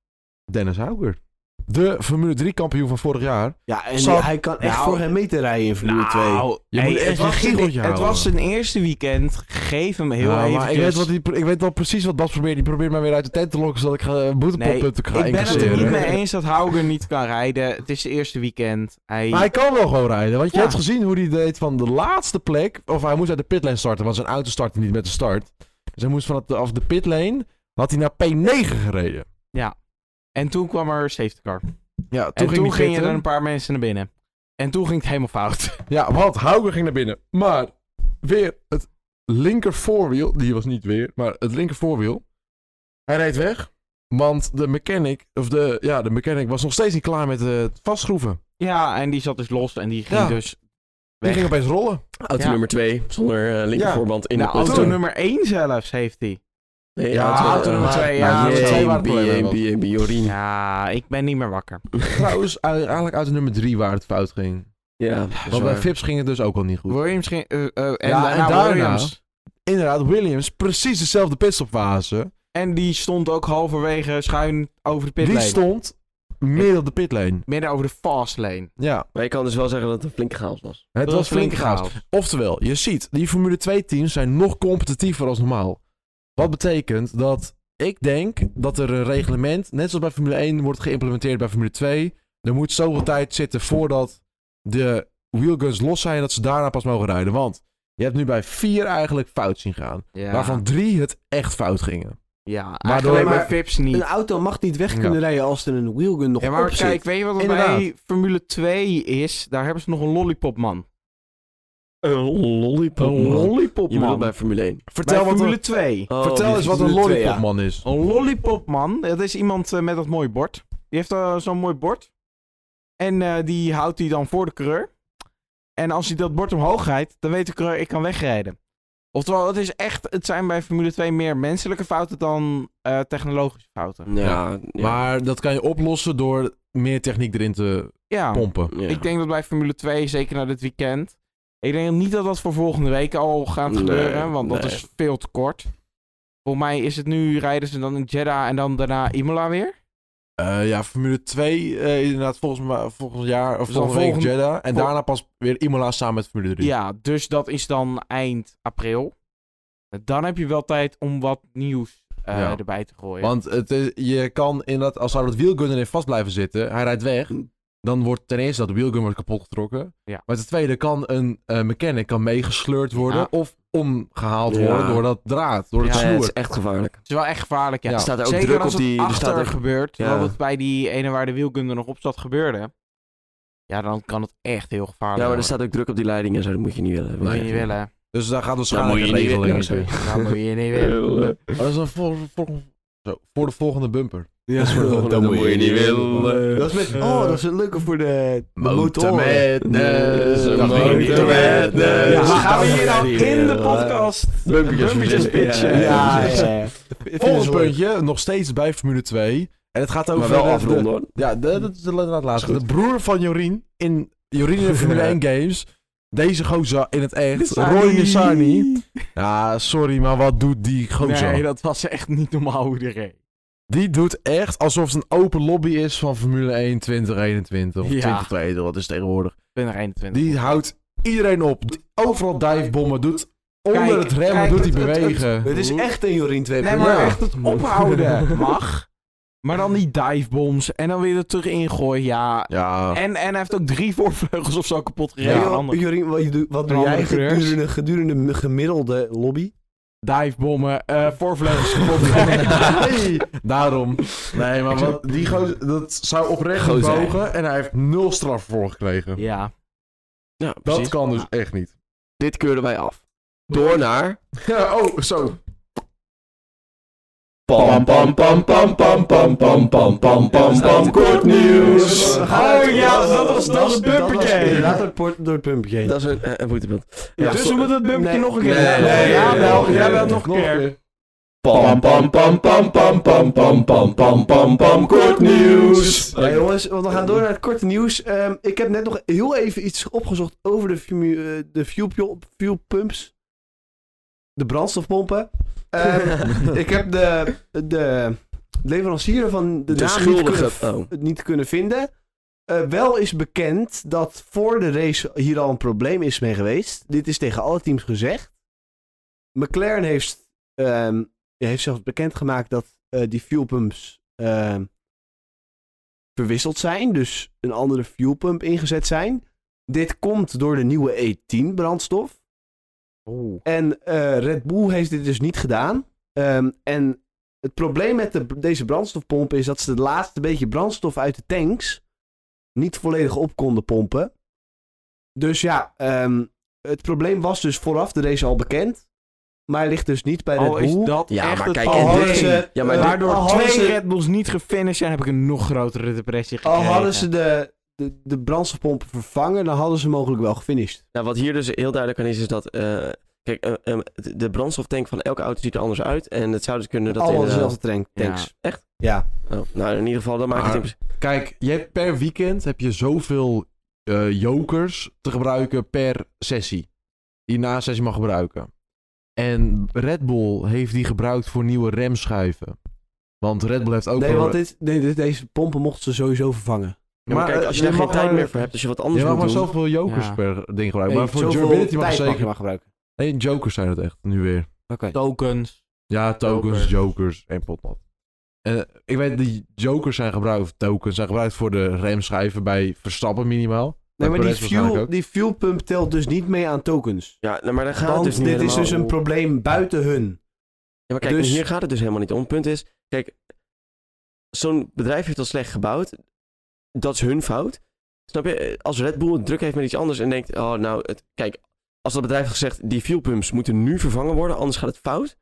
S2: Dennis Hauger. De Formule 3 kampioen van vorig jaar.
S1: Ja, en
S2: Zal-
S1: hij kan echt
S3: Nou.
S1: voor hem mee te rijden in Formule 2.
S2: Je
S3: hey,
S2: moet echt
S3: het,
S2: een
S3: was zijn,
S2: giegeltje
S3: het
S2: houden.
S3: was zijn eerste weekend. Geef hem heel
S2: Ja,
S3: even.
S2: Nou, maar ik weet, wat die, ik weet wel precies wat Bas probeert. Die probeert mij weer uit de tent te lokken zodat ik eh, boetepotpunten ga
S3: ik ben het er
S2: incasseren.
S3: niet mee eens dat Hauger niet kan rijden. Het is zijn eerste weekend. Hij...
S2: Maar hij kan wel gewoon rijden. Want je
S3: Ja.
S2: hebt gezien hoe hij deed van de laatste plek. Of hij moest uit de pitlane starten, want zijn auto startte niet met de start. Dus hij moest vanaf de pitlane, had hij naar P9 gereden.
S3: En toen kwam er safety car.
S2: Ja, toen
S3: en
S2: ging,
S3: toen
S2: hij
S3: gingen er
S2: pitten.
S3: een paar mensen naar binnen. En toen ging het helemaal fout. [laughs]
S2: Ja, want Hauger ging naar binnen. Maar weer het linker voorwiel. Die was niet weer, maar het linker voorwiel. Hij reed weg. Want de mechanic, of de, ja, de mechanic was nog steeds niet klaar met eh, het vastschroeven.
S3: Ja, en die zat dus los en die ging
S2: Ja.
S3: dus
S2: Die
S3: weg.
S2: ging opeens rollen.
S4: Auto
S3: Ja.
S4: nummer 2, zonder eh, linkervoorband in
S3: Nou,
S4: de auto.
S3: auto nummer 1 zelfs heeft hij.
S4: Nee,
S2: Ja, Ah, auto nummer
S4: eh,
S3: twee,
S4: maar
S3: ja,
S4: jee,
S3: auto twee
S2: waar het probleem
S4: jee,
S2: was.
S4: jee, jee, Jorien. Ja,
S3: Ja, ik ben niet meer wakker.
S2: Trouwens, eigenlijk uit de nummer drie waar het fout ging.
S4: dat is
S2: Want bij
S4: waar.
S2: Fips ging het dus ook al niet goed.
S3: Williams ging... eh, eh, en,
S2: Ja,
S3: daarna
S2: en daarna-
S3: Williams.
S2: Inderdaad, Williams, precies dezelfde pitstopfase.
S3: En die stond ook halverwege schuin over de
S2: Die
S3: pitlane.
S2: stond midden op de pitlane.
S3: Midden over de fast lane.
S2: Ja,
S4: Maar je kan dus wel zeggen dat het een flinke chaos was.
S2: het was flink gaaf.
S3: chaos.
S2: Oftewel, je ziet, die Formule 2 teams zijn nog competitiever als normaal. Wat betekent dat ik denk dat er een reglement, net zoals bij Formule 1 wordt geïmplementeerd bij Formule 2, er moet zoveel tijd zitten voordat de wheelguns los zijn dat ze daarna pas mogen rijden. Want je hebt nu bij vier eigenlijk fout zien gaan,
S3: Ja,
S2: waarvan drie het echt fout gingen.
S3: ja
S2: Waardoor- Nou,
S3: eigenlijk bij
S1: maar-
S3: Vips niet.
S1: Een auto mag niet weg
S2: Ja.
S1: kunnen rijden als er een wheelgun nog
S3: Ja, maar
S1: op zit.
S3: kijk, weet je wat het bij
S2: Inderdaad.
S3: Formule 2 is? Daar hebben ze nog een lollipopman.
S4: Een lollipop.
S2: Een
S4: Je bedoelt bij
S3: lollipopman.
S4: Formule 1.
S3: Bij
S2: Vertel, wat
S3: Formule
S2: een,
S3: 2.
S4: Oh,
S2: vertel
S4: die-
S2: eens wat een
S1: Formule 2, ja.
S2: lollipopman is.
S3: Een lollipopman, dat is iemand eh, met dat mooie bord. Die heeft eh, zo'n mooi bord. En eh, die houdt hij dan voor de coureur. En als hij dat bord omhoog rijdt, dan weet de coureur, ik kan wegrijden. Oftewel, het, is echt, het zijn bij Formule 2 meer menselijke fouten dan eh, technologische fouten.
S4: Ja, ja.
S2: Maar dat kan je oplossen door meer techniek erin te
S3: Ja,
S2: pompen.
S4: Ja.
S3: ik denk dat bij Formule 2, zeker na dit weekend... Ik denk niet dat dat voor volgende week al gaat
S4: Nee,
S3: gebeuren, want dat
S4: nee.
S3: is veel te kort. Volgens mij is het nu, rijden ze dan in Jeddah en dan daarna Imola weer.
S2: Eh, ja, Formule 2 eh, inderdaad volgens, ma- volgens jaar of
S3: Dus
S2: volgende
S3: dan
S2: week
S3: volgend-
S2: Jeddah. En
S3: vol-
S2: daarna pas weer Imola samen met Formule 3.
S3: Ja, dus dat is dan eind april. Dan heb je wel tijd om wat nieuws eh,
S2: Ja.
S3: erbij te gooien.
S2: Want het is, je kan inderdaad, als zou dat wielgun erin vast blijven zitten, hij rijdt weg. Dan wordt ten eerste dat wielgun wordt kapot getrokken.
S3: Ja.
S2: Maar ten tweede kan een eh, mechanic kan meegesleurd worden
S3: Ja.
S2: of omgehaald
S4: Ja.
S2: worden door dat draad, door het
S4: Ja, het
S2: snoer.
S4: is echt gevaarlijk.
S3: het is wel echt gevaarlijk, ja.
S2: Ja.
S4: Er staat ook
S3: Zeker
S4: druk
S3: als
S4: op die...
S3: het
S4: Er
S3: achter
S4: staat ook...
S3: gebeurt,
S4: ja.
S3: wat het bij die ene waar de wielgun er nog op zat gebeurde. Ja, dan kan het echt heel gevaarlijk
S4: Ja, maar er
S3: worden.
S4: staat ook druk op die leiding en zo. Dat moet je niet willen.
S3: Dat moet je niet willen.
S2: Dus daar gaat
S4: moet
S2: waarschijnlijk een
S4: je niet
S2: regeling in
S4: willen,
S2: zitten.
S3: Dat moet je niet willen.
S2: Maar dat is dan voor, voor, zo, voor de volgende bumper.
S1: Ja,
S4: Dat
S1: [laughs]
S4: is voor de volgende, dat moet je niet willen.
S1: Dat is met,
S3: Eh,
S1: oh, dat is een leuke voor de, de motor.
S4: Motormadness,
S1: Dat
S2: weet ik.
S4: motormadness.
S3: Ja,
S1: dat
S3: gaan we
S1: moet
S3: hier
S1: je
S2: nou
S3: dan
S1: niet
S3: in de
S1: willen.
S3: podcast Bumpertjes
S4: Bumpertjes
S3: pitchen.
S4: pitchen.
S1: Ja,
S4: Ja,
S1: ja, ja.
S2: Volgend puntje, nog steeds bij Formule 2. En het gaat over
S4: Maar wel
S2: de- de,
S4: afronden hoor.
S2: Ja, de- dat is de inderdaad laatste. De broer van Jorien in Jorien in de Formule 1 Games. Deze gozer in het echt. Roy Nissani. Ja, sorry, maar wat doet die gozer?
S3: Nee, dat was echt niet normaal hoe die reed.
S2: Die doet echt alsof het een open lobby is van Formule 1 2021 of
S3: Ja.
S2: 2022. Wat is tegenwoordig?
S3: Ik ben er 21.
S2: Die houdt iedereen op. Doet Overal divebommen. Doet onder
S3: Kijk,
S2: het remmen,
S3: kijk,
S2: doet hij
S3: het- het-
S2: bewegen.
S1: [laughs] Het is echt een Jorien 2.0.
S3: Nee, maar
S2: Ja.
S1: [laughs]
S3: echt het ophouden mag. Maar dan die divebombs en dan weer er terug ingooien. Ja.
S2: Ja.
S3: En, en hij heeft ook drie [laughs] voorvleugels of zo kapot gereden.
S1: Hey,
S3: Een
S1: joh,
S3: andere-
S1: Jorien, wat, je doet- wat doe
S3: Een
S1: jij
S3: andere kleur.
S1: gedurende, gedurende m- gemiddelde lobby?
S3: Divebommen, eh voorvleugels kapot gereden.
S2: Nee, daarom. Nee, maar wat, die gozer, dat zou oprecht
S4: Gozer.
S2: bogen en hij heeft nul straf voor gekregen.
S3: ja.
S4: Ja,
S2: Dat
S4: precies.
S2: kan dus echt niet.
S4: Dit keurden wij af. Door naar...
S2: Ja, oh, zo.
S5: Pam pam pam pam pam pam pam pam pam pam pam kort nieuws.
S3: Oh ja, dat was- dat was het bumpertje.
S1: Inderdaad, door het por- door het bumpertje.
S4: Dat is een, eh, een voetenbeeld.
S3: Ja,
S4: Ja,
S3: dus we
S4: sorry.
S3: moeten het bumpje
S1: Nee.
S3: nog een keer
S4: Nee,
S3: hebben.
S5: nee,
S3: ja,
S5: nee,
S3: wel,
S5: nee,
S3: ja, wel
S5: nee,
S3: nog een keer.
S5: Pam pam pam pam pam pam pam pam pam pam pam kort nieuws.
S1: Hey, jongens, want we gaan door naar het korte nieuws. Ehm, ik heb net nog heel even iets opgezocht over de, fumu- eh, de fuel, pio- fuel pumps. De brandstofpompen.
S4: [laughs]
S1: Ehm, ik heb de, de leverancier van de,
S4: De
S1: naam niet kunnen,
S4: schuldige. Oh.
S1: het niet kunnen vinden. Eh, wel is bekend dat voor de race hier al een probleem is mee geweest. Dit is tegen alle teams gezegd. McLaren heeft, ehm, heeft zelfs bekendgemaakt dat eh, die fuelpumps ehm, verwisseld zijn. Dus een andere fuelpump ingezet zijn. Dit komt door de nieuwe E10 brandstof. En eh, Red Bull heeft dit dus niet gedaan. Ehm, en het probleem met de, deze brandstofpompen is dat ze het laatste beetje brandstof uit de tanks niet volledig op konden pompen. Dus ja, ehm, het probleem was dus vooraf de race al bekend. Maar ligt dus niet bij Red
S3: Al is
S1: Bull.
S3: dat
S4: Ja,
S3: echt
S4: maar
S3: het
S4: kijk,
S1: al
S4: en
S3: probleem.
S1: hadden ze,
S4: Ja, maar
S1: eh,
S4: dit-
S3: Waardoor
S1: al hadden
S3: twee
S1: ze-
S3: Red Bulls niet gefinished zijn, heb ik een nog grotere depressie
S1: al
S3: gekregen.
S1: hadden ze de, de, de brandstofpompen vervangen, dan hadden ze mogelijk wel gefinished.
S4: Nou, wat hier dus heel duidelijk aan is, is dat... eh, kijk, eh, eh, de- de brandstoftank van elke auto ziet er anders uit. En het zou dus kunnen dat...
S1: Allemaal
S4: in, eh,
S1: dezelfde tank, tanks.
S4: Echt?
S1: Ja.
S4: oh, nou, in ieder geval, dan maakt het...
S2: Maar-
S4: in principe-
S2: Kijk, je hebt per weekend heb je zoveel eh, jokers te gebruiken per sessie. Die je na een sessie mag gebruiken. En Red Bull heeft die gebruikt voor nieuwe remschuiven. Want Red Bull heeft ook...
S1: Nee,
S2: wel-
S1: want eh, dit, nee, dit- deze pompen mochten ze sowieso vervangen.
S4: Ja, maar, kijk, als je daar
S2: eh,
S4: geen
S2: mag
S4: tijd
S2: maar-
S4: meer voor hebt, als je wat
S2: Je
S4: anders
S2: mag
S4: moet
S2: maar
S4: doen...
S2: zoveel jokers
S3: Ja.
S2: per ding gebruiken.
S1: Nee,
S2: maar voor
S1: zoveel
S2: durability mag
S1: tijd
S2: zeker...
S1: je maar gebruiken.
S2: Nee, jokers zijn het echt, nu weer.
S1: Oké.
S3: tokens.
S2: Ja, tokens,
S3: Jokers.
S2: jokers en potnat. En eh, ik weet, die jokers zijn gebruikt, of tokens zijn gebruikt voor de remschijven bij Verstappen minimaal.
S1: Nee, maar die,
S2: Perez waarschijnlijk
S1: fuel,
S2: ook.
S1: die fuelpump telt dus niet mee aan tokens.
S4: Ja, nou, maar dan gaat
S1: Want
S4: het dus niet
S1: dit is
S4: helemaal
S1: dus een
S4: om.
S1: probleem buiten hun.
S4: Ja, maar kijk,
S1: dus-
S4: hier gaat het dus helemaal niet om. Punt is, kijk, zo'n bedrijf heeft dat slecht gebouwd. Dat is hun fout. Snap je? Eh, Als Red Bull het druk heeft met iets anders en denkt, oh nou, het, kijk, als dat bedrijf had gezegd, die fuelpumps moeten nu vervangen worden, anders gaat het fout.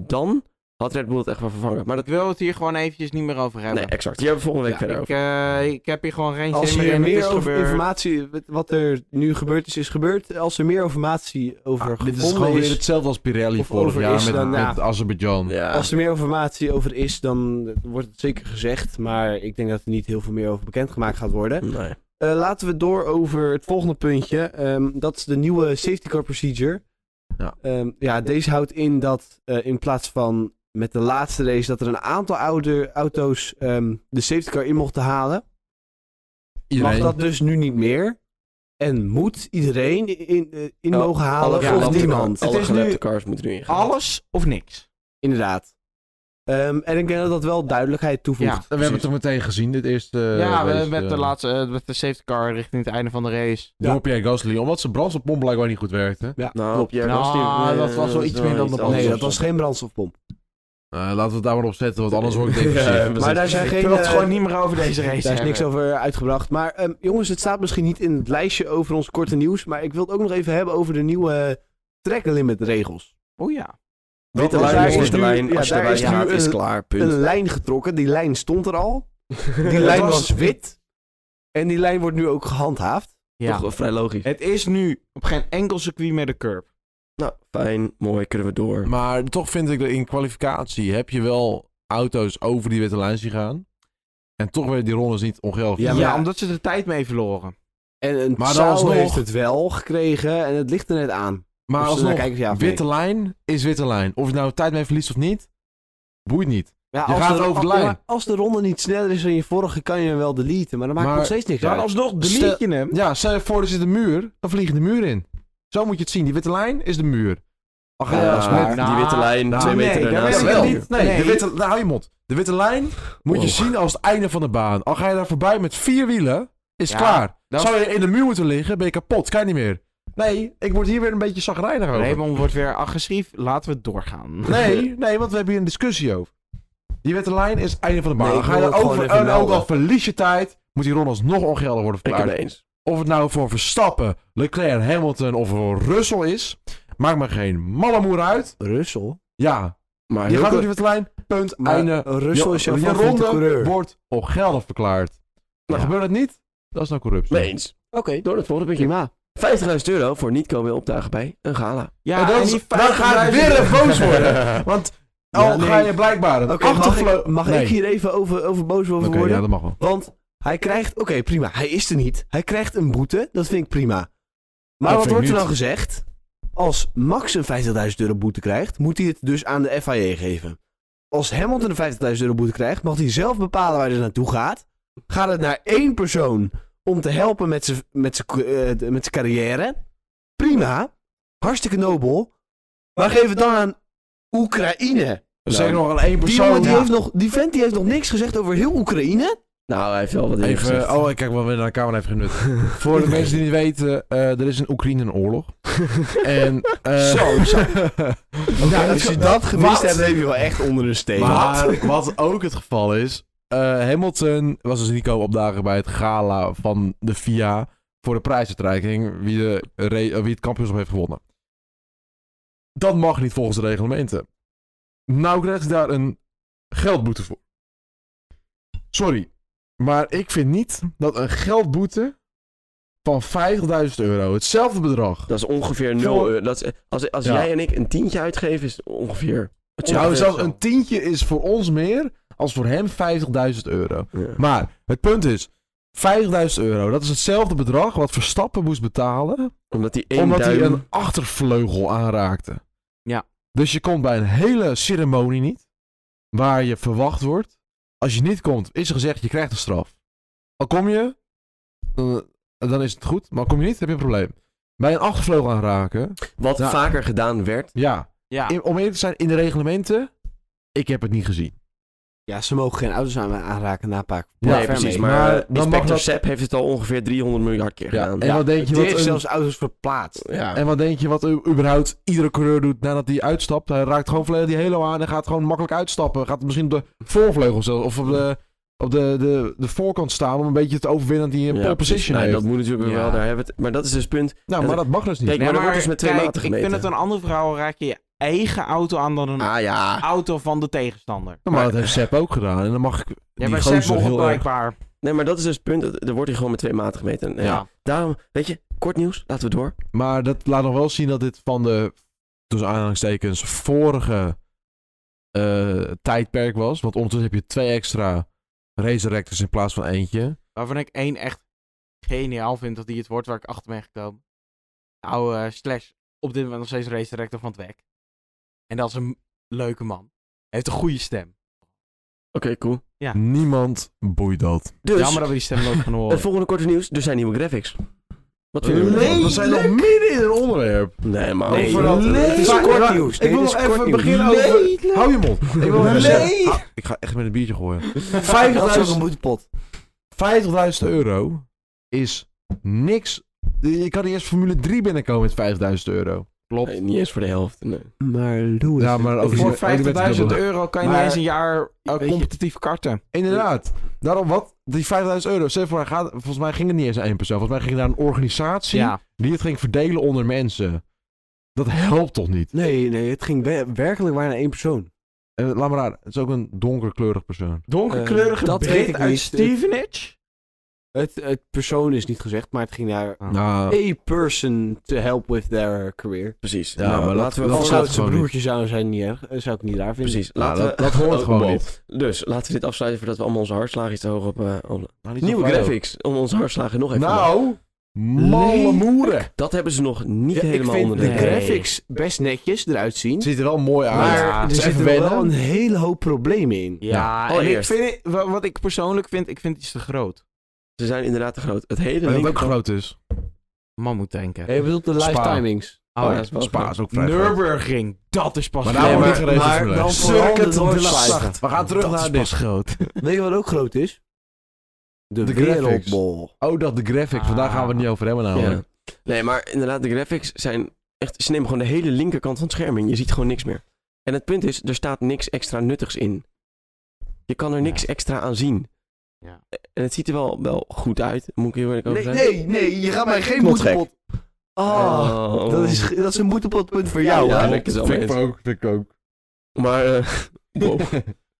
S4: Dan had Red Bull het echt wel vervangen. Maar dat,
S3: Ik wil het hier gewoon eventjes niet meer over hebben.
S4: nee, exact. Hier hebben we volgende week verder
S3: ik,
S4: over.
S3: eh, ik heb hier gewoon geen
S1: Als
S3: zin meer
S1: hier
S3: in. Het
S1: meer
S3: is
S1: over
S3: gebeurd.
S1: informatie, wat er nu gebeurd is, is gebeurd. Als er meer informatie over
S2: Ah, dit
S1: gevonden
S2: is gewoon
S1: is,
S2: weer hetzelfde als Pirelli
S1: of
S2: vorig
S1: over
S2: jaar
S1: is,
S2: met,
S1: dan, ja.
S2: met Azerbeidzjan.
S4: Ja.
S1: als er meer informatie over is, dan wordt het zeker gezegd. Maar ik denk dat er niet heel veel meer over bekendgemaakt gaat worden.
S4: Nee.
S1: Eh, laten we door over het volgende puntje. Ehm, dat is de nieuwe safety car procedure.
S2: Ja.
S1: Ehm, ja, deze houdt in dat eh, in plaats van met de laatste race... dat er een aantal oude auto's ehm, de safety car in mochten halen...
S2: Iedereen.
S1: mag dat dus nu niet meer. En moet iedereen in, in, in
S4: Ja,
S1: mogen halen
S4: Alle
S1: of
S4: gelapte
S1: niemand.
S4: Alle
S3: Het is
S4: gelapte
S3: nu-
S4: cars moeten nu ingaan.
S3: Alles of niks.
S1: Inderdaad. Ehm, en ik denk dat dat wel duidelijkheid toevoegt.
S3: Ja, we
S2: We hebben het toch meteen gezien, dit eerste...
S3: ja, we-
S2: race,
S3: met de
S2: eh,
S3: laatste, eh, met de safety car richting het einde van de race.
S2: Door Pierre Gasly, omdat zijn brandstofpomp blijkbaar niet goed werkte.
S1: Ja,
S4: Nou,
S1: klopt.
S4: Pierre
S3: Nou,
S4: Gasly, eh,
S3: dat was wel iets meer dan
S4: iets
S3: de-
S4: anders.
S1: Nee, dat was geen brandstofpomp.
S2: Eh, laten we het daar maar op zetten, want anders word [laughs] ik
S4: Ja,
S2: depressief.
S4: precies.
S1: Maar daar zijn
S3: Ik
S1: geen...
S3: wil het
S1: eh,
S3: gewoon niet meer over deze race
S1: [laughs] Daar is niks
S3: hebben.
S1: over uitgebracht. Maar ehm, jongens, het staat misschien niet in het lijstje over ons korte nieuws. Maar ik wil het ook nog even hebben over de nieuwe regels.
S3: Oh ja.
S4: Witte
S1: Want
S4: lijn
S1: daar
S4: is
S1: is
S4: witte
S1: nu-
S4: lijn.
S1: ja,
S4: Als je
S1: daar
S4: erbij
S1: is nu
S4: gaat, is
S1: een-
S4: klaar.
S1: Een
S4: Punt.
S1: lijn getrokken, die lijn stond er
S2: [laughs]
S1: al. Die
S4: Dat
S1: lijn
S4: was-
S1: was wit. En die lijn wordt nu ook gehandhaafd.
S3: ja.
S4: Toch wel vrij logisch.
S3: Het is nu op geen enkel circuit meer de curb.
S4: Nou, fijn, mooi, kunnen we door.
S2: Maar toch vind ik dat in kwalificatie heb je wel auto's over die witte lijn zien gaan. En toch werden die rondes niet ongeldig.
S1: Ja,
S3: Ja,
S1: maar-
S3: omdat ze de tijd mee verloren.
S1: En een
S2: Maar dan
S1: zaal
S2: alsnog-
S1: heeft het wel gekregen. En het ligt er net aan.
S2: maar
S1: Of ze
S2: alsnog,
S1: daar kijken, ja, of nee.
S2: witte lijn is witte lijn. Of je nou tijd mee verliest of niet, boeit niet.
S1: Ja,
S2: Je gaat over de
S1: ja,
S2: lijn.
S1: maar als de ronde niet sneller is dan je vorige, kan je hem wel deleten. Maar dat maakt
S2: Maar-
S1: nog steeds niks
S3: Maar
S1: uit.
S3: alsnog delete je hem.
S2: Ja, stel je voor er zit een muur, dan vliegen de muur in. Zo moet je het zien. Die witte lijn is de muur. Ach, ja, als
S4: Ah,
S2: met-
S4: die witte lijn,
S2: Nou,
S4: twee
S3: nee,
S4: meter
S3: dat
S4: daarnaast.
S3: weet ik
S2: Jawel.
S3: wel. niet.
S2: Nee,
S3: Nee.
S2: De witte, nou, hou je mond. De witte lijn moet je
S4: Oh.
S2: zien als het einde van de baan. Al ga je daar voorbij met vier wielen, is
S3: Ja,
S2: klaar.
S3: dat-
S2: Zou je in de muur moeten liggen, ben je kapot. Kan je niet meer. Nee, ik word hier weer een beetje zagrijnig over. Nee,
S3: Raymond wordt weer agressief. Laten we doorgaan.
S2: [laughs] nee, want we hebben hier een discussie over. Die witte lijn is het einde van de baan.
S4: Nee,
S2: Dan
S4: ik
S2: ga je
S4: wil
S2: daar
S4: het
S2: ook,
S4: gewoon
S2: voor-
S4: even
S2: en ook
S4: melden.
S2: al verlies je tijd, moet die ron alsnog ongeldig worden
S4: Ik ben
S2: verklaard.
S4: het eens.
S2: Of het nou voor Verstappen, Leclerc, Hamilton of voor Russell is, maakt me geen malle moer uit.
S1: Russell?
S2: Ja,
S4: Maar
S2: je
S4: Hilke-
S2: gaat op die witte lijn, punt,
S1: Maar
S2: einde.
S1: Russell is
S2: Je-
S1: jouw
S2: je
S1: favoriete
S2: ronde
S1: coureur.
S2: wordt ongeldig verklaard. Nou,
S4: Ja.
S2: gebeurt het niet? Dat is nou corruptie.
S4: Mee eens. Oké, door het volgende puntje.
S1: Prima.
S4: 50.000 euro voor niet komen opdagen bij een gala.
S3: Ja,
S2: en dat
S3: en
S2: is-
S3: die
S2: dan
S3: 50.000
S2: gaat het weer een boos
S1: [laughs]
S2: worden. Want al
S1: Ja, nee.
S2: ga je blijkbaar een
S1: Oké, mag, ik,
S2: achtervlo-
S1: mag
S2: Nee.
S1: ik hier even over, over boos over
S2: Oké,
S1: worden?
S2: ja, dat mag wel.
S1: Want hij krijgt, oké prima, hij is er niet. Hij krijgt een boete, dat vind ik prima. Maar
S2: Dat vind
S1: wat
S2: ik
S1: wordt er
S2: niet.
S1: dan gezegd? Als Max een 50.000 euro boete krijgt, moet hij het dus aan de FIA geven. Als Hamilton een 50.000 euro boete krijgt, mag hij zelf bepalen waar hij naartoe gaat. Gaat het naar één persoon om te helpen met zijn met zijn co- eh, met zijn carrière? Prima, hartstikke nobel. Maar geef het dan aan Oekraïne.
S2: Dus zeker nog aan één
S1: Nou, Die,
S2: persoon.
S1: jongen, die,
S2: Ja.
S1: heeft nog, die vent die heeft nog niks gezegd over heel Oekraïne.
S4: Nou, hij heeft wel wat dingen gezegd.
S2: Even, oh, ik kijk wel weer naar de camera even genut. Voor de mensen die niet weten, eh, er is in Oekraïne een
S4: [laughs]
S2: oorlog. en, eh,
S1: Zo,
S2: [laughs] nou,
S1: als je dat gemist
S2: Wat?
S1: hebt, heb je wel echt onder een steen.
S4: [laughs]
S2: Maar wat ook het geval is, eh, Hamilton was dus niet komen opdagen bij het gala van de FIA voor de prijsuitreiking wie, de, re- eh, wie het kampioenschap heeft gewonnen. Dat mag niet volgens de reglementen. Nou krijgt hij daar een geldboete voor. Sorry, maar ik vind niet dat een geldboete van 50.000 euro, hetzelfde bedrag.
S4: Dat is ongeveer 0 euro. Dat is, als als
S2: Ja.
S4: jij en ik een tientje uitgeven, is het ongeveer. het is
S2: Nou,
S4: ongeveer
S2: zelfs
S4: zo.
S2: een tientje is voor ons meer als voor hem 50.000 euro.
S4: Ja.
S2: Maar het punt is, 50.000 euro, dat is hetzelfde bedrag wat Verstappen moest betalen.
S4: Omdat hij één
S2: omdat hij
S4: duim...
S2: een achtervleugel aanraakte.
S3: Ja.
S2: Dus je komt bij een hele ceremonie niet, waar je verwacht wordt. Als je niet komt, is er gezegd, je krijgt een straf. Al kom je, dan, dan is het goed. Maar kom je niet, heb je een probleem. Bij een achtervleugel aanraken,
S4: Wat
S2: Ja.
S4: vaker gedaan werd.
S2: ja.
S3: Ja.
S2: In- om eerlijk te zijn, in de reglementen, ik heb het niet gezien.
S1: Ja, ze mogen geen auto's aan aanraken na Paak.
S2: Ja,
S4: nee,
S1: ver
S4: precies.
S1: mee.
S4: Maar,
S2: Maar
S4: eh,
S2: dan mag
S4: inspector
S2: dat-
S4: Sepp heeft het al ongeveer 300 miljard keer
S2: Ja.
S4: gedaan.
S2: En wat denk je
S1: Die
S2: wat
S1: heeft
S2: een-
S1: zelfs auto's verplaatst.
S4: Ja.
S2: En wat denk je wat u- überhaupt iedere coureur doet nadat hij uitstapt? Hij raakt gewoon volledig die halo aan en gaat gewoon makkelijk uitstappen. Gaat misschien op de voorvleugel zelf, of op de, op de, de, de voorkant staan om een beetje te overwinnen dat hij een
S4: Ja,
S2: pole
S4: precies.
S2: position
S4: Nee,
S2: heeft.
S4: Dat moet natuurlijk
S3: Ja.
S4: wel, daar hebben we het. Maar dat is dus het punt.
S2: nou, maar dat mag dus niet.
S4: Kijk,
S3: Nee,
S4: maar dat wordt dus met twee
S3: kijk,
S4: maten
S3: Ik vind
S4: gemeten.
S3: het een andere verhaal. Raak je je eigen auto aan dan een
S4: Ah ja.
S3: auto van de tegenstander.
S2: Nou, maar dat heeft Sepp ook gedaan. En dan mag ik
S3: Ja,
S2: die
S3: maar Sepp
S2: gozer dus
S3: mocht
S2: heel erg...
S3: blijkbaar.
S4: Nee, maar dat is dus het punt. dat- Er wordt hier gewoon met twee maten gemeten. En,
S3: Ja.
S4: ja. Daarom, weet je, kort nieuws. Laten we door.
S2: Maar dat laat nog wel zien dat dit van de, tussen aanhalingstekens, vorige eh, tijdperk was. Want ondertussen heb je twee extra racerectors in plaats van eentje.
S3: Waarvan ik één echt geniaal vind dat die het wordt waar ik achter ben gekomen. Nou, slash op dit moment nog steeds race director van het WEC. En dat is een leuke man. Hij heeft een goede stem.
S4: Oké, cool.
S3: Ja.
S2: Niemand boeit dat.
S4: Dus,
S3: Jammer dat we die stem nooit gaan [laughs] horen.
S4: het volgende korte nieuws. Er zijn nieuwe graphics. Wat vinden jullie ervan?
S2: Nee, we zijn nog midden in een onderwerp.
S4: Nee, man.
S1: Nee,
S2: Overal-
S1: nee.
S2: Het is
S1: Maar-
S2: kort
S1: maar-
S2: nieuws.
S1: ik wil nog even beginnen over-
S2: Hou je mond. Ik wil even
S1: Nee.
S2: zeggen- Ah, Ik ga echt met een biertje gooien.
S1: Dat is ook
S2: 50.000
S1: een boetepot.
S2: 50.000 euro is niks. Je kan niet eerst Formule 3 binnenkomen met 5000 euro.
S4: Nee, niet eens voor de helft. Nee.
S1: Maar Louis.
S2: Ja, maar ook
S3: Voor
S2: ook met de
S3: 50.000
S2: dubbele.
S3: euro kan je
S1: Maar-
S3: niet eens een jaar eh,
S1: Weet je-
S3: competitief karten.
S2: Inderdaad. Daarom wat? Die 5000 euro. Stel je voor, hij gaat, volgens mij ging het niet eens aan één persoon. Volgens mij ging daar een organisatie
S3: Ja.
S2: die het ging verdelen onder mensen. Dat helpt toch niet?
S1: Nee, nee, het ging wer- werkelijk waar naar één persoon.
S2: En laat maar raden, het is ook een donkerkleurig persoon.
S3: Donkerkleurige
S1: Eh, dat weet
S3: Brit
S1: ik
S3: uit
S1: niet.
S3: Stevenage.
S1: Het, het persoon is niet gezegd, maar het ging naar
S2: Nou,
S1: a person to help with their career.
S4: Precies. Nou,
S2: Ja, maar laten we-
S1: Al
S2: dat
S1: zou
S2: gaat
S1: het zijn
S2: gewoon
S1: broertje zou zijn niet erg, eh, zou ik niet raar vinden.
S4: Precies.
S2: nou,
S4: Laten
S2: dat,
S4: we...
S2: dat hoort
S4: Oh,
S2: gewoon
S4: wow.
S2: niet.
S4: Dus laten we dit afsluiten voordat we allemaal onze hartslagen iets te hoog op... eh, op-
S2: Nou, niet zo
S4: Nieuwe
S2: flauw.
S4: graphics om onze hartslagen
S1: Oh,
S4: nog even...
S2: Nou, malle moeren.
S4: Dat hebben ze nog niet
S1: Ja, ik
S4: helemaal
S1: vind
S4: onder
S1: de
S4: de
S3: Nee.
S1: graphics best netjes eruit zien.
S2: Ziet er wel mooi uit.
S1: Maar
S3: Ja, het
S1: er
S2: is
S1: zitten
S2: even
S1: wel
S2: wennen.
S1: een hele hoop problemen in.
S3: Ja, en Oh, ik
S4: allereerst.
S3: vind het- wa- wat ik persoonlijk vind, ik vind het iets te groot.
S4: Ze zijn inderdaad te groot. Het hele
S2: dat het ook
S4: linkerkant-
S2: groot is.
S3: Man moet denken.
S1: Je bedoelt de live
S2: Spa.
S1: timings.
S3: Oh, ja, dat is wel
S2: Spa is ook vrij groot.
S3: Nürburgring, dat is pas
S2: Maar daar
S3: groot. [laughs]
S2: wordt niet
S1: Nou, maar-
S2: geregeld
S1: maar
S2: voor
S1: dan
S2: leuk.
S1: vooral de
S2: Circuit
S1: dorpslijnen.
S2: Delassage. We gaan terug
S1: Dat
S2: naar
S1: is
S2: dit.
S1: pas Weet je wat ook groot is? De,
S2: De graphics.
S1: Wereldbol.
S2: Oh, dat de graphics. Vandaar gaan we het niet over hebben nou.
S4: Ja. Nee, maar inderdaad, de graphics zijn echt... Ze nemen gewoon de hele linkerkant van het scherm in. Je ziet gewoon niks meer. En het punt is, er staat niks extra nuttigs in. Je kan er niks
S3: Ja.
S4: extra aan zien.
S3: Ja.
S4: En het ziet er wel, wel goed uit, moet ik heel eerlijk over
S1: Nee,
S4: zijn.
S1: nee, nee, je gaat mij geen
S5: Knot gek.
S1: boetepot. Oh,
S4: Oh.
S1: dat, is, dat is een boetepotpunt voor jou.
S4: Ja,
S1: hè?
S4: dat is wel mee eens.
S2: ook, vind ik ook.
S4: Maar,
S2: [laughs]
S4: eh, wow.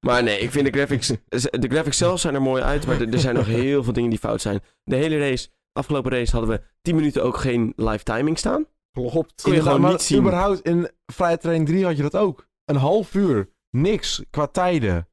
S4: maar nee, ik vind de graphics... De graphics zelf zijn er mooi uit, maar er er zijn nog heel veel dingen die fout zijn. De hele race, afgelopen race hadden we 10 minuten ook geen live timing staan.
S2: Klopt.
S4: Kon je gewoon
S2: Maar
S4: niet zien.
S2: Überhaupt in Vrije Train 3 had je dat ook. Een half uur. Niks qua tijden.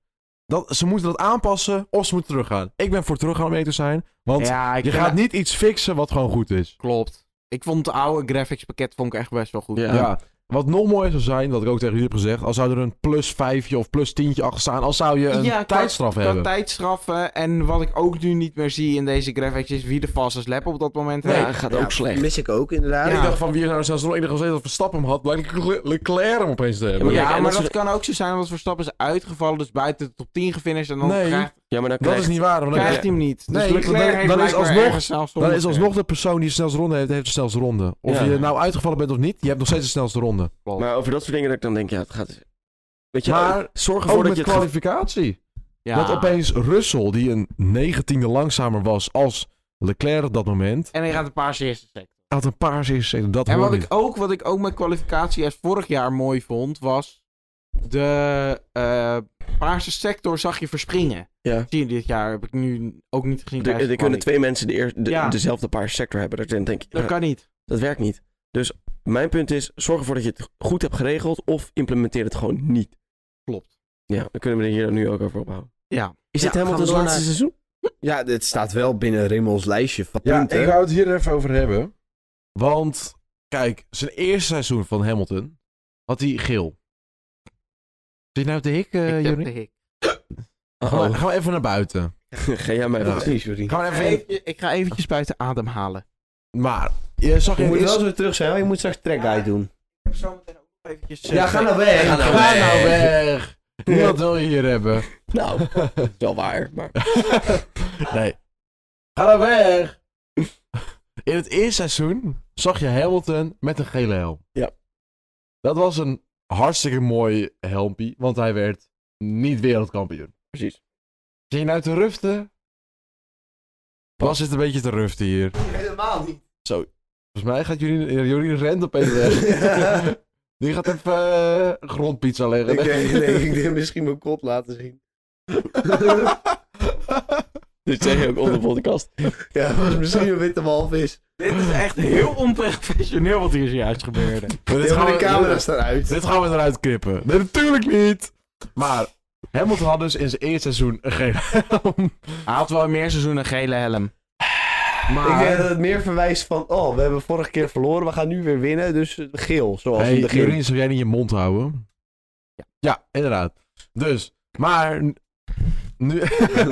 S2: Dat, ze moeten dat aanpassen of ze moeten teruggaan. Ik ben voor teruggaan om mee te zijn. Want
S3: ja, ik
S2: je
S3: vind
S2: gaat
S3: dat-
S2: niet iets fixen wat gewoon goed is.
S3: Klopt. Ik vond het oude graphics pakket vond ik echt best wel goed.
S4: Ja.
S2: Ja. Wat nog mooier zou zijn, wat ik ook tegen jullie heb gezegd. Als zou er een plus vijfje of plus tientje achter staan. Als zou je een
S3: Ja, qua-
S2: tijdstraf
S3: Qua
S2: hebben.
S3: tijdstraffen en wat ik ook nu niet meer zie in deze graphics is wie de fastest lap op dat moment
S4: Ja,
S3: rijdt.
S4: gaat
S1: Ja,
S4: ook slecht.
S1: Mis ik ook, inderdaad.
S2: En ik
S3: Ja.
S2: dacht van wie is nou zelfs nog enige gezeten dat Verstappen hem had. Blijkt Le- Leclerc hem opeens te
S4: Ja,
S2: hebben.
S4: maar
S3: Ja,
S4: kijk, en
S3: maar
S4: als
S3: dat kan ook zo zijn, want Verstappen is uitgevallen, dus buiten de top 10 gefinished en dan
S2: Nee,
S3: krijgt,
S4: Ja, maar dan
S2: dat
S4: krijg
S2: is niet waar. Want dan,
S3: krijgt hij hem niet. Dus
S2: Nee,
S3: Leclerc
S2: dan-
S3: heeft
S2: dan is
S3: blijkbaar
S2: alsnog-
S3: ergens zelfs
S2: dan is
S3: zonder-
S2: alsnog de persoon die de snelste ronde heeft, heeft de snelste ronde. Of
S4: Ja.
S2: je nou uitgevallen bent of niet, je hebt nog steeds de snelste ronde.
S4: Maar over dat soort dingen dat ik dan denk, ja, het gaat... Weet je, eh,
S2: Maar
S4: zorg ervoor
S2: Ook
S4: dat
S2: met
S4: je het gaat...
S2: kwalificatie.
S3: Ja.
S2: Dat opeens Russell, die een negentiende langzamer was als Leclerc op dat moment,
S3: En hij gaat een paar eerste sector.
S2: had een paar is dat
S3: En
S2: hoor
S3: wat
S2: ik.
S3: ik ook, wat ik ook met kwalificatie als vorig jaar mooi vond, was de eh, paarse sector zag je verspringen.
S4: Ja.
S3: Zie je dit jaar, heb ik nu ook niet gezien.
S4: Er,
S3: tijdens
S4: er
S3: de
S4: kunnen
S3: kwaliteit.
S4: twee mensen de eer- de-
S3: Ja.
S4: dezelfde paar sector hebben. Dat, denk ik,
S3: Dat
S4: ja,
S3: kan niet.
S4: dat werkt niet. Dus mijn punt is, zorg ervoor dat je het goed hebt geregeld of implementeer het gewoon niet.
S3: Klopt.
S4: Ja, dan kunnen we er hier nu ook over ophouden.
S3: Ja.
S4: Is
S1: Ja,
S4: dit helemaal
S1: gaan
S4: het
S1: we
S4: laatste
S1: door
S4: seizoen?
S1: Ja, dit staat wel binnen Rimmels lijstje van
S2: Ja,
S1: punten.
S2: ik wou het hier even over hebben. Want, kijk, zijn eerste seizoen van Hamilton had hij geel. Zit je nou te hik, eh
S3: ik heb
S2: Johnny?
S3: de hik.
S2: Gaan, we, gaan we even naar buiten.
S4: Oh, [laughs] Ga jij mij
S2: Ja.
S4: wel-
S1: Precies, sorry.
S2: Gaan we even in-
S3: Even- ik ga eventjes buiten ademhalen.
S2: Maar, je zag
S1: Je
S2: in
S1: moet
S2: het
S1: wel
S2: eerste...
S1: zo terug zijn, want je moet straks trackguide doen.
S3: Ik heb zo meteen ook eventjes... eh,
S1: Ja, ga nou weg.
S4: Ga nou
S2: Ga nou
S4: weg.
S2: weg! Niemand wil je hier hebben. [laughs]
S4: Nou, dat is wel waar, maar...
S2: nee. Ga nou weg! In het eerste seizoen zag je Hamilton met een gele helm.
S4: Ja.
S2: Dat was een hartstikke mooi helmpie, want hij werd niet wereldkampioen.
S4: Precies.
S2: Zit je nou te ruften? Bas zit een beetje te ruften hier.
S1: Helemaal niet.
S2: Volgens mij gaat Jorien, eh, Jorien rent opeens weg. Die gaat even eh, grondpizza leggen.
S1: Ik eh, denk, nee, ik denk misschien mijn kop laten zien.
S4: Dit zeg je ook onder de podcast.
S1: Ja, [laughs] dat was misschien een witte walvis.
S3: Dit is echt heel onprofessioneel wat hier zojuist gebeurde.
S2: Maar dit,
S1: Ja,
S2: gaan
S1: maar
S2: we,
S1: de camera's
S2: dit,
S1: staan uit.
S2: dit gaan we eruit knippen. Nee, natuurlijk niet. Maar Hamilton had dus in zijn eerste seizoen geen helm.
S3: Hij had wel meer seizoenen een gele helm.
S1: Ik denk
S2: Maar
S1: dat
S3: eh,
S1: het meer verwijst van, oh, we hebben vorige keer verloren, we gaan nu weer winnen, dus eh, geel, zoals
S2: hey,
S1: in de begin.
S2: Jorien, zou jij niet je mond houden? Ja, inderdaad. Dus, maar n- nu,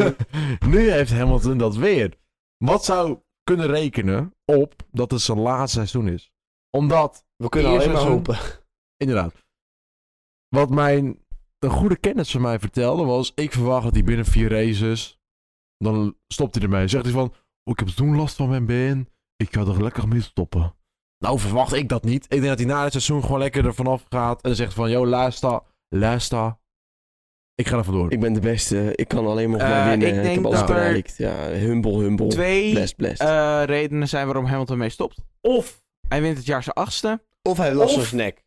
S2: [laughs] nu heeft Hamilton dat weer. Wat zou kunnen rekenen op dat het zijn laatste seizoen is? Omdat,
S1: We kunnen alleen maar
S2: Eerste
S1: hopen.
S2: inderdaad, wat mijn een goede kennis van mij vertelde was, ik verwacht dat hij binnen vier races, dan stopt hij ermee. Zegt hij van, oh, ik heb toen last van mijn been, ik ga er lekker mee stoppen. Nou verwacht ik dat niet. Ik denk dat hij na het seizoen gewoon lekker er vanaf gaat en zegt van, yo luister, luister, ik ga er vandoor.
S4: Ik ben de beste, ik kan alleen maar
S3: Eh,
S4: maar winnen.
S3: ik
S4: Ik,
S3: denk
S4: heb alles
S3: dat er-
S4: bereikt. Ja, humble, humble.
S3: Twee
S4: Blessed, blessed.
S3: eh, redenen zijn waarom Hamilton mee stopt. Of hij wint het jaar zijn achtste.
S1: Of [laughs] hij last
S3: Of-
S1: van zijn nek.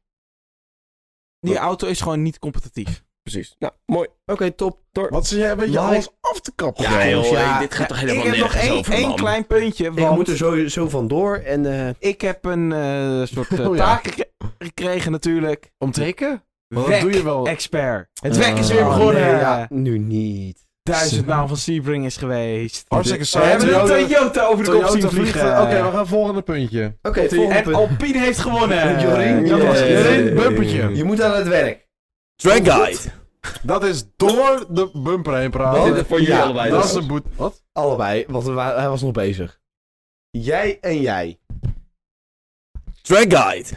S3: Die auto is gewoon niet competitief.
S4: Precies. Nou, mooi.
S1: Oké, top.
S4: Door.
S2: Wat zie jij een beetje
S1: Maar-
S2: alles af te kappen?
S4: Ja,
S2: joh.
S4: joh,
S3: ja,
S4: hey, dit gaat toch helemaal
S3: ik heb nog
S4: nergens
S3: één,
S4: over,
S3: één
S4: man.
S3: klein puntje,
S1: Ik
S3: want
S1: moet er zo, zo vandoor en... eh,
S3: ik heb een eh, soort eh,
S2: Oh, ja.
S3: taak gek- gekregen natuurlijk.
S2: Om te hikken? Want dat doe je wel.
S3: WEC-expert. Het
S2: Eh,
S3: WEC is
S2: oh,
S3: weer begonnen.
S1: nee, ja, nu niet.
S3: Duizend maal van Sebring is geweest.
S2: Hartstikke
S3: We hebben de
S2: Toyota-
S3: Toyota over de kop zien vliegen.
S2: Oké, we gaan volgende puntje.
S1: Oké, volgende
S3: En
S1: punt.
S3: Alpine heeft gewonnen.
S1: Jorien,
S3: dat was het.
S1: Yeah.
S2: Jorien, bumpertje.
S1: Je moet aan het werk.
S4: Drag Guide.
S2: Dat is door de bumper heen praten.
S1: Wat?
S4: Dit is voor jullie
S1: Ja,
S4: allebei.
S2: dat
S4: dus.
S2: is een boet. Wat?
S1: Allebei, want we wa- hij was nog bezig. Jij en jij.
S4: Drag Guide.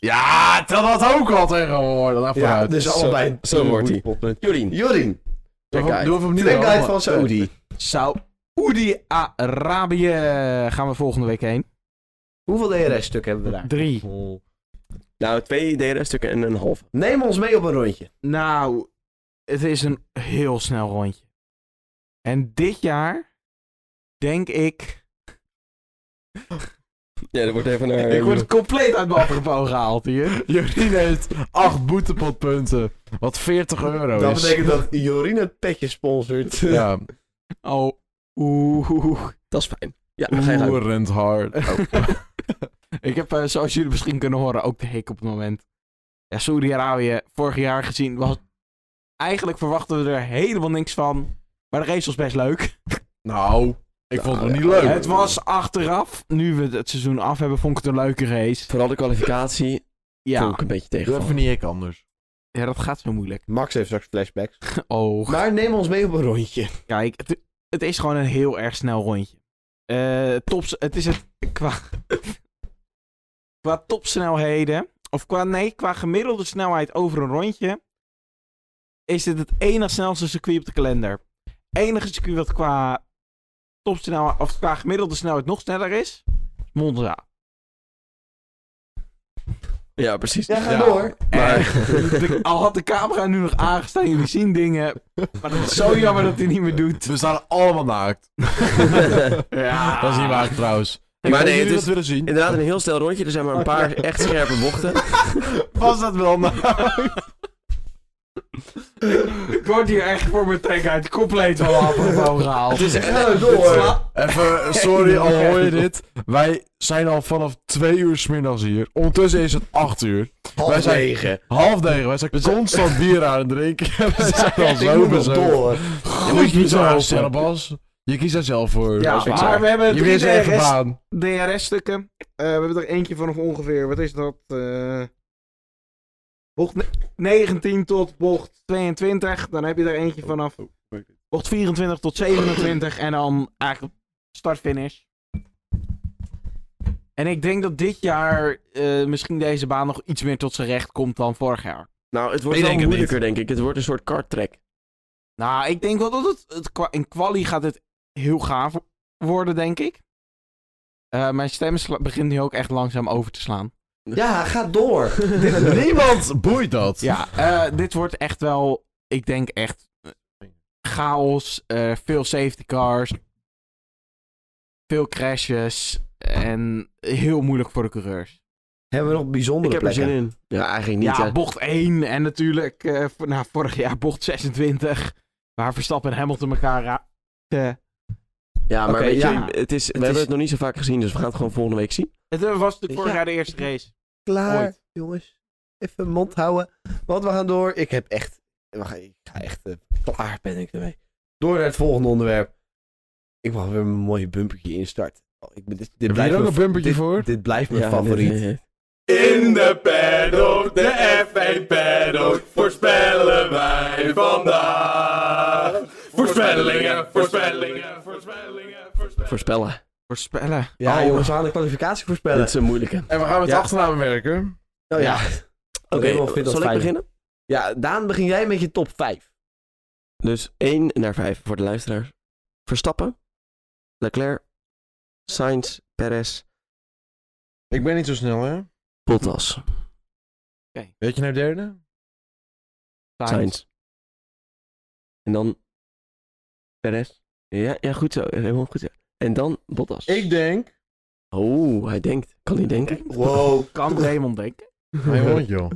S2: Ja, dat had ook al tegenwoordig. Nou,
S1: Ja,
S2: vooruit.
S1: dus
S4: Zo-
S1: allebei.
S4: zo wordt hij.
S1: hij.
S4: Jorien.
S1: Jorien,
S2: Doe
S4: Track
S2: even-
S4: guide.
S2: doe even opnieuw.
S1: trackguide van
S2: allemaal.
S1: Saudi.
S3: Saoedi-Arabië eh, gaan we volgende week heen.
S1: Hoeveel DRS-stukken hebben we daar?
S3: Drie.
S4: Nou, twee DRS-stukken en een half.
S1: Neem ons mee op een rondje.
S3: Nou, het is een heel snel rondje. En dit jaar denk ik. [laughs]
S4: Ja, dat wordt even naar...
S3: ik word compleet uit mijn apropos gehaald hier.
S2: [laughs] Jorien heeft 8 boetepotpunten. Wat 40 euro
S1: dat
S2: is.
S1: betekent dat Jorien het petje sponsort.
S4: [laughs]
S2: Ja,
S3: Oh, oeh.
S4: Dat is fijn. Ja, dan ga je gang.
S2: oerend hard.
S3: Ik heb, eh, zoals jullie misschien kunnen horen, ook de hik op het moment. Ja, Saudi-Arabië, vorig jaar gezien, was... Eigenlijk verwachten we er helemaal niks van. Maar de race was best leuk.
S2: Nou, ik vond het
S4: ja,
S2: niet leuk.
S3: Het was achteraf, nu we het seizoen af hebben, vond ik het een leuke race.
S4: Vooral de kwalificatie vond
S3: Ja,
S4: ik een beetje
S2: Doe
S4: tegen.
S2: even niet ik anders.
S3: ja dat gaat zo moeilijk.
S1: Max heeft straks flashbacks. [laughs]
S3: Oh,
S1: Maar neem ons mee op een rondje.
S3: kijk, het, het is gewoon een heel erg snel rondje. Eh tops, het is het qua, [laughs] qua topsnelheden, of qua nee, qua gemiddelde snelheid over een rondje, is dit het enige snelste circuit op de kalender. Enige circuit wat qua topsnelheid, of qua gemiddelde snelheid nog sneller is, is Monza.
S4: Ja, precies.
S1: Ja, ga
S2: Ja.
S1: door.
S4: [laughs] Maar-
S3: Echt, de- al had de camera nu nog aangestaan, jullie zien dingen, maar het is zo jammer dat hij niet meer doet.
S2: We staan allemaal naakt.
S3: Ja.
S2: Dat is niet waar trouwens. Ik weet
S4: Maar nee,
S2: niet
S4: het
S2: jullie
S4: is-
S2: dat willen zien.
S4: Inderdaad, een heel snel rondje. Er zijn maar een paar echt scherpe bochten.
S2: Was dat wel
S3: Ik word hier echt voor mijn trek uit compleet wel apropos gehaald.
S1: Dus ga door.
S2: Even, eh, sorry, al hoor je dit. Wij zijn al vanaf twee uur smiddags hier. Ondertussen is het acht uur. Wij
S1: Half
S2: zijn-
S1: negen.
S2: Half negen. Wij zijn constant bier aan het drinken. [laughs] We zijn al
S1: Ik
S2: zo
S1: moet nog
S2: bezig.
S1: door.
S2: Goed bizar, Cerbas. Je kiest daar zelf voor.
S3: Ja,
S4: is
S3: maar we hebben
S2: Je
S3: drie
S2: wist echt een
S3: DRS [laughs]
S2: baan.
S3: DRS-stukken. Eh, we hebben er eentje van nog ongeveer, wat is dat? Eh, bocht ne- 19 tot bocht 22. Dan heb je er
S2: Oh,
S3: eentje vanaf bocht 24 tot 27. En dan eigenlijk start-finish. En ik denk dat dit jaar eh, misschien deze baan nog iets meer tot zijn recht komt dan vorig jaar.
S4: Nou, het wordt
S2: Ik
S4: wel
S2: denk het
S4: moeilijker, denk ik. Het wordt een soort karttrek.
S3: Nou, ik denk wel dat het, het kwa- in quali gaat het heel gaaf worden, denk ik. Eh, mijn stem sla- begint nu ook echt langzaam over te slaan.
S1: Ja, ga [laughs] door.
S2: Niemand boeit dat.
S3: Ja, eh, dit wordt echt wel, ik denk echt eh, chaos, eh, veel safety cars, veel crashes en heel moeilijk voor de coureurs.
S1: Hebben we nog
S4: Ik
S1: bijzondere
S4: heb er zin
S1: plekken?
S4: in. Ja, eigenlijk niet. eh,
S3: ja,
S4: hè.
S3: bocht 1 en natuurlijk, eh, vo- nou, vorig jaar bocht 26, waar Verstappen en Hamilton elkaar raakten.
S4: ja maar
S1: Oké,
S4: weet
S1: ja.
S4: je, het is, we
S1: is-
S4: hebben het nog niet zo vaak gezien, dus we gaan het gewoon volgende week zien.
S3: Het eh, was natuurlijk vorig
S1: Ja.
S3: jaar de eerste race.
S1: Klaar,
S3: Ooit.
S1: jongens. Even mond houden. Want we gaan door. Ik heb echt... we gaan- Ik ga echt... eh, klaar ben ik ermee. Door naar het volgende onderwerp. Ik mag weer een mooie bumpertje instarten. Oh, ik, ben- dit, dit
S2: Heb je
S1: blijft
S2: er ook
S1: mijn-
S2: een bumpertje
S1: dit-
S2: voor?
S1: Dit blijft mijn
S4: Ja,
S1: favoriet.
S4: [laughs] nee, nee.
S5: In de paddock, de F1 paddock, voorspellen wij vandaag. Voorspellingen, voorspellingen, voorspellingen, voorspellingen.
S4: Voorspellen.
S3: Voorspellen.
S1: Ja,
S2: Oh.
S1: jongens, we gaan de kwalificatie voorspellen.
S4: Dit is een moeilijke.
S2: En we gaan met
S1: Ja.
S2: achternamen werken.
S1: Nou ja.
S4: Oké,
S1: Raymond vindt dat
S4: zal ik
S1: fijn.
S4: beginnen?
S1: Ja, Daan, begin jij met je top 5.
S4: Dus 1 naar 5 voor de luisteraars. Verstappen, Leclerc, Sainz, Perez,
S2: Ik ben niet zo snel, hè?
S4: Bottas,
S2: Weet je naar derde?
S4: Sainz. En dan Perez. Ja, ja goed zo. Helemaal goed zo. En dan Bottas.
S2: Ik denk...
S4: Oh, hij denkt. Kan hij denken?
S1: Wow.
S3: Kan Raymond denken?
S2: Mijn hond, joh.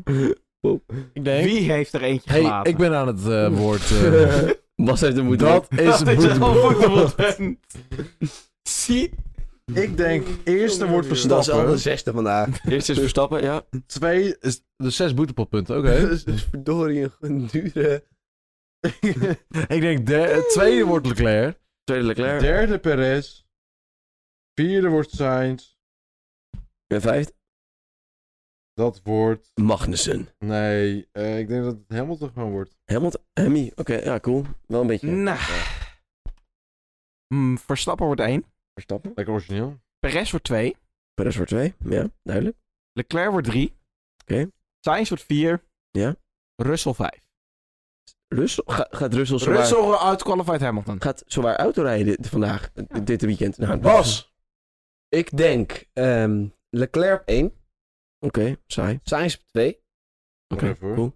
S2: Ik denk...
S3: Wie heeft er eentje
S2: hey,
S3: gelaten?
S2: ik ben aan het eh, woord. eh.
S4: Bas heeft de moeite.
S2: dat is
S3: [laughs] Dat is
S2: boete.
S3: wel voetbalpunt. Zie.
S2: Ik denk, eerste wordt
S1: Dat is al de
S2: Verstappen.
S1: zesde vandaag.
S4: Eerst is Verstappen, ja.
S2: Twee is de zes boetepotpunten, oké.
S1: Dat is [laughs] dus verdorie een- een dure...
S2: [laughs] ik denk, de, tweede wordt Leclerc.
S4: Tweede Leclerc.
S2: Derde Perez. Vierde wordt Sainz.
S4: En vijfde
S2: Dat wordt...
S4: Magnussen.
S2: Nee, eh, ik denk dat het Hamilton gewoon wordt.
S4: Hamilton. Hemmy. Oké, ja, cool. Wel een beetje
S3: Nou. Hmm, Verstappen wordt 1.
S4: Verstappen.
S2: Lekker origineel.
S3: Perez wordt 2.
S4: Perez wordt twee. Ja, duidelijk.
S3: Leclerc wordt 3.
S4: Oké.
S3: Sainz wordt 4.
S4: Ja.
S3: Russell 5.
S4: Russell, ga- gaat Russell zowaar,
S3: Russell uitqualified Hamilton.
S4: Gaat zowaar autorijden dit- vandaag, d- dit weekend? Nou,
S1: Bas. Ik denk ehm, Leclerc op 1,
S4: Oké, saai.
S1: Sainz op 2.
S4: Oké,
S2: Whatever.
S4: cool.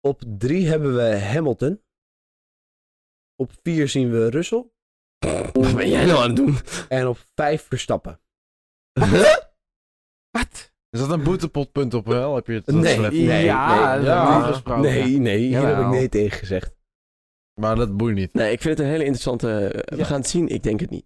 S1: Op 3 hebben we Hamilton. Op 4 zien we Russell.
S4: Wat ben jij nou aan het doen?
S1: En op 5 Verstappen.
S3: Wat?
S2: Is dat een boetepotpunt op wel? Heb je het eh, dat
S1: Nee.
S2: slecht?
S1: Nee, nee,
S3: ja, dat
S2: ja.
S3: hebben we niet gesproken.
S1: nee, nee, hier heb ik
S3: Jawel.
S1: nee tegen gezegd.
S2: Maar dat boeit niet.
S4: Nee, ik vind het een hele interessante... eh, We gaan het zien, ik denk het niet.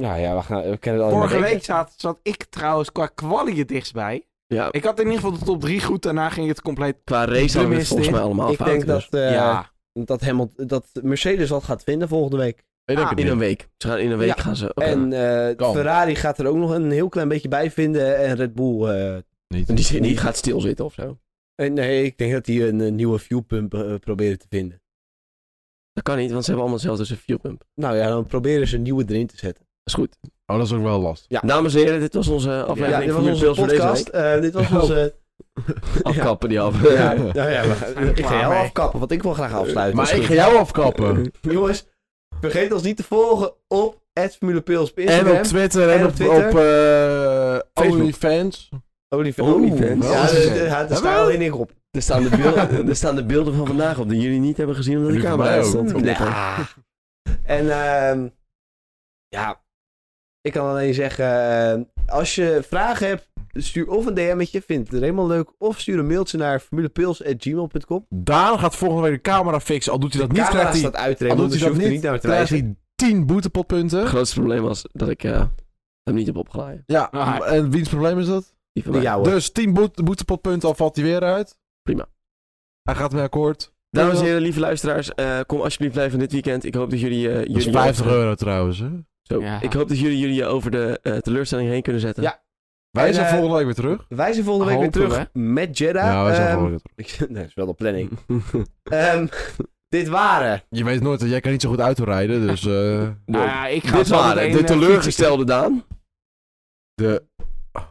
S1: Nou ja, we, gaan, we kennen het allemaal.
S3: Vorige week zat, zat ik trouwens qua kwalie het dichtst bij.
S4: Ja,
S3: Ik had in ieder geval de top 3 goed, daarna ging het compleet.
S4: qua race hadden we het
S3: Tenminste,
S4: volgens mij allemaal
S1: Ik
S4: fout.
S1: denk
S4: dus.
S1: dat, eh,
S3: ja.
S1: dat, Hamilton, dat Mercedes dat gaat vinden volgende week.
S2: Ik denk
S3: Ah,
S2: het
S4: In
S2: niet.
S4: een week. Ze gaan in een week
S1: Ja.
S4: gaan ze... oké.
S1: En eh,
S2: Kan.
S1: Ferrari gaat er ook nog een heel klein beetje bij vinden. En Red Bull. eh,
S2: Niet.
S4: Die, zit- die gaat stilzitten of zo.
S1: eh, nee, ik denk dat die een, eh, nieuwe fuelpump eh, proberen te vinden.
S4: Dat kan niet, want ze hebben allemaal zelfs een fuelpump.
S1: Nou ja, dan proberen ze een nieuwe erin te zetten.
S4: Dat is goed.
S2: Oh, dat is ook wel last.
S1: Ja.
S4: Dames en heren, dit was onze
S1: Ja,
S4: aflevering
S1: dit was
S4: van
S1: onze
S4: Pils voor deze
S1: podcast.
S4: week.
S1: Eh, dit was
S4: Ja.
S1: onze...
S4: [laughs] Afkappen die af.
S1: Ja, nou ja, we gaan-
S3: Zijn we
S1: ik ga
S3: klaar
S1: jou
S3: mee?
S1: afkappen, want ik wil graag afsluiten.
S2: Maar ik ga jou
S4: [laughs]
S2: afkappen.
S1: [laughs] Jongens, vergeet ons niet te volgen op @formulepils op
S2: En
S1: Instagram.
S2: op Twitter en,
S1: En op
S2: op,
S1: Twitter.
S2: op eh,
S4: Facebook.
S2: OnlyFans.
S1: Olive-
S4: OnlyFans.
S1: Ja, daar- daar- daar staan alleen ik op.
S4: Er staan, de
S1: [laughs]
S4: [laughs] beelden, er staan de beelden van vandaag op die jullie niet hebben gezien omdat de
S2: Die van
S4: camera
S2: mij
S4: uit
S2: ook.
S4: stond.
S1: Ja. En ehm, ja, ik kan alleen zeggen, ehm, als je vragen hebt, stuur of een DM'tje, vind het helemaal leuk, of stuur een mailtje naar formulepils.gmail.com.
S2: Daan gaat volgende week de camera fixen. Al doet hij dat niet,
S1: Camera
S2: krijgt hij,
S1: staat uit,
S2: al
S1: Raymond,
S2: doet
S1: dus
S2: hij
S1: je
S2: dat
S1: hoeft er niet
S2: niet,
S1: naar te
S2: krijgt
S1: wijzen.
S2: hij 10 boetepotpunten.
S1: [laughs]
S4: Het grootste probleem was dat ik eh, hem niet heb opgeladen.
S2: Ja,
S3: Ah.
S2: en wiens probleem is dat?
S4: Die van
S1: De
S4: mij.
S1: jouwe.
S2: Dus 10 boete- boetepotpunten, al valt hij weer uit.
S4: Prima.
S2: Hij gaat mee akkoord.
S4: Dames en heren, lieve luisteraars, eh, kom alsjeblieft blij van dit weekend. Ik hoop dat jullie... eh,
S2: Dat is
S4: jullie
S2: 50 euro trouwens. Hè?
S4: Zo.
S3: Ja.
S4: Ik hoop dat jullie jullie eh, over de eh, teleurstelling heen kunnen zetten.
S1: Ja.
S2: Wij
S1: En,
S2: zijn
S1: eh,
S2: volgende week weer terug.
S1: Wij zijn volgende
S2: Ah,
S1: week weer
S3: Hopen
S1: terug met Jeddah.
S2: Ja, wij zijn
S1: Ehm,
S2: volgende week weer terug.
S1: ik- [laughs] nee, dat is wel de planning. Ehm, [laughs] dit waren
S2: Je weet nooit, eh, jij kan niet zo goed autorijden, dus...
S1: [laughs]
S2: eh,
S3: Nou ja, ik ga
S4: Dit
S3: zo
S4: waren
S3: meteen,
S4: de
S3: eh,
S4: teleurgestelde Daan.
S2: de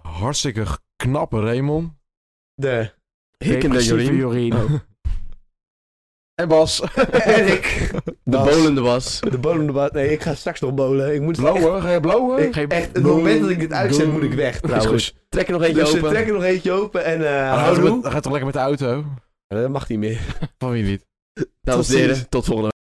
S2: hartstikke knappe Raymond.
S1: de...
S2: [laughs]
S4: Hikkende
S3: depressieve
S4: Jorien.
S3: Jorien.
S2: En Bas.
S1: en ik,
S4: De
S1: Bas.
S4: bolende was.
S1: de bodemdebat. Nee, ik ga straks nog bolen. Ik moet het echt-
S2: Blauwe, ga je blauwe?
S1: Ik-
S3: Geen-
S1: echt, het moment dat ik dit uitzet,
S2: Doei.
S1: moet ik weg
S4: Is
S1: trouwens.
S4: Trek er nog eentje
S1: Dus ze
S4: open.
S1: trekken nog eentje open en eh
S2: Hij gaat,
S1: houdoe.
S2: toch met- hij gaat toch lekker met de auto?
S1: Dat mag Eh, niet meer.
S2: Van wie niet?
S4: Dames en heren, tot volgende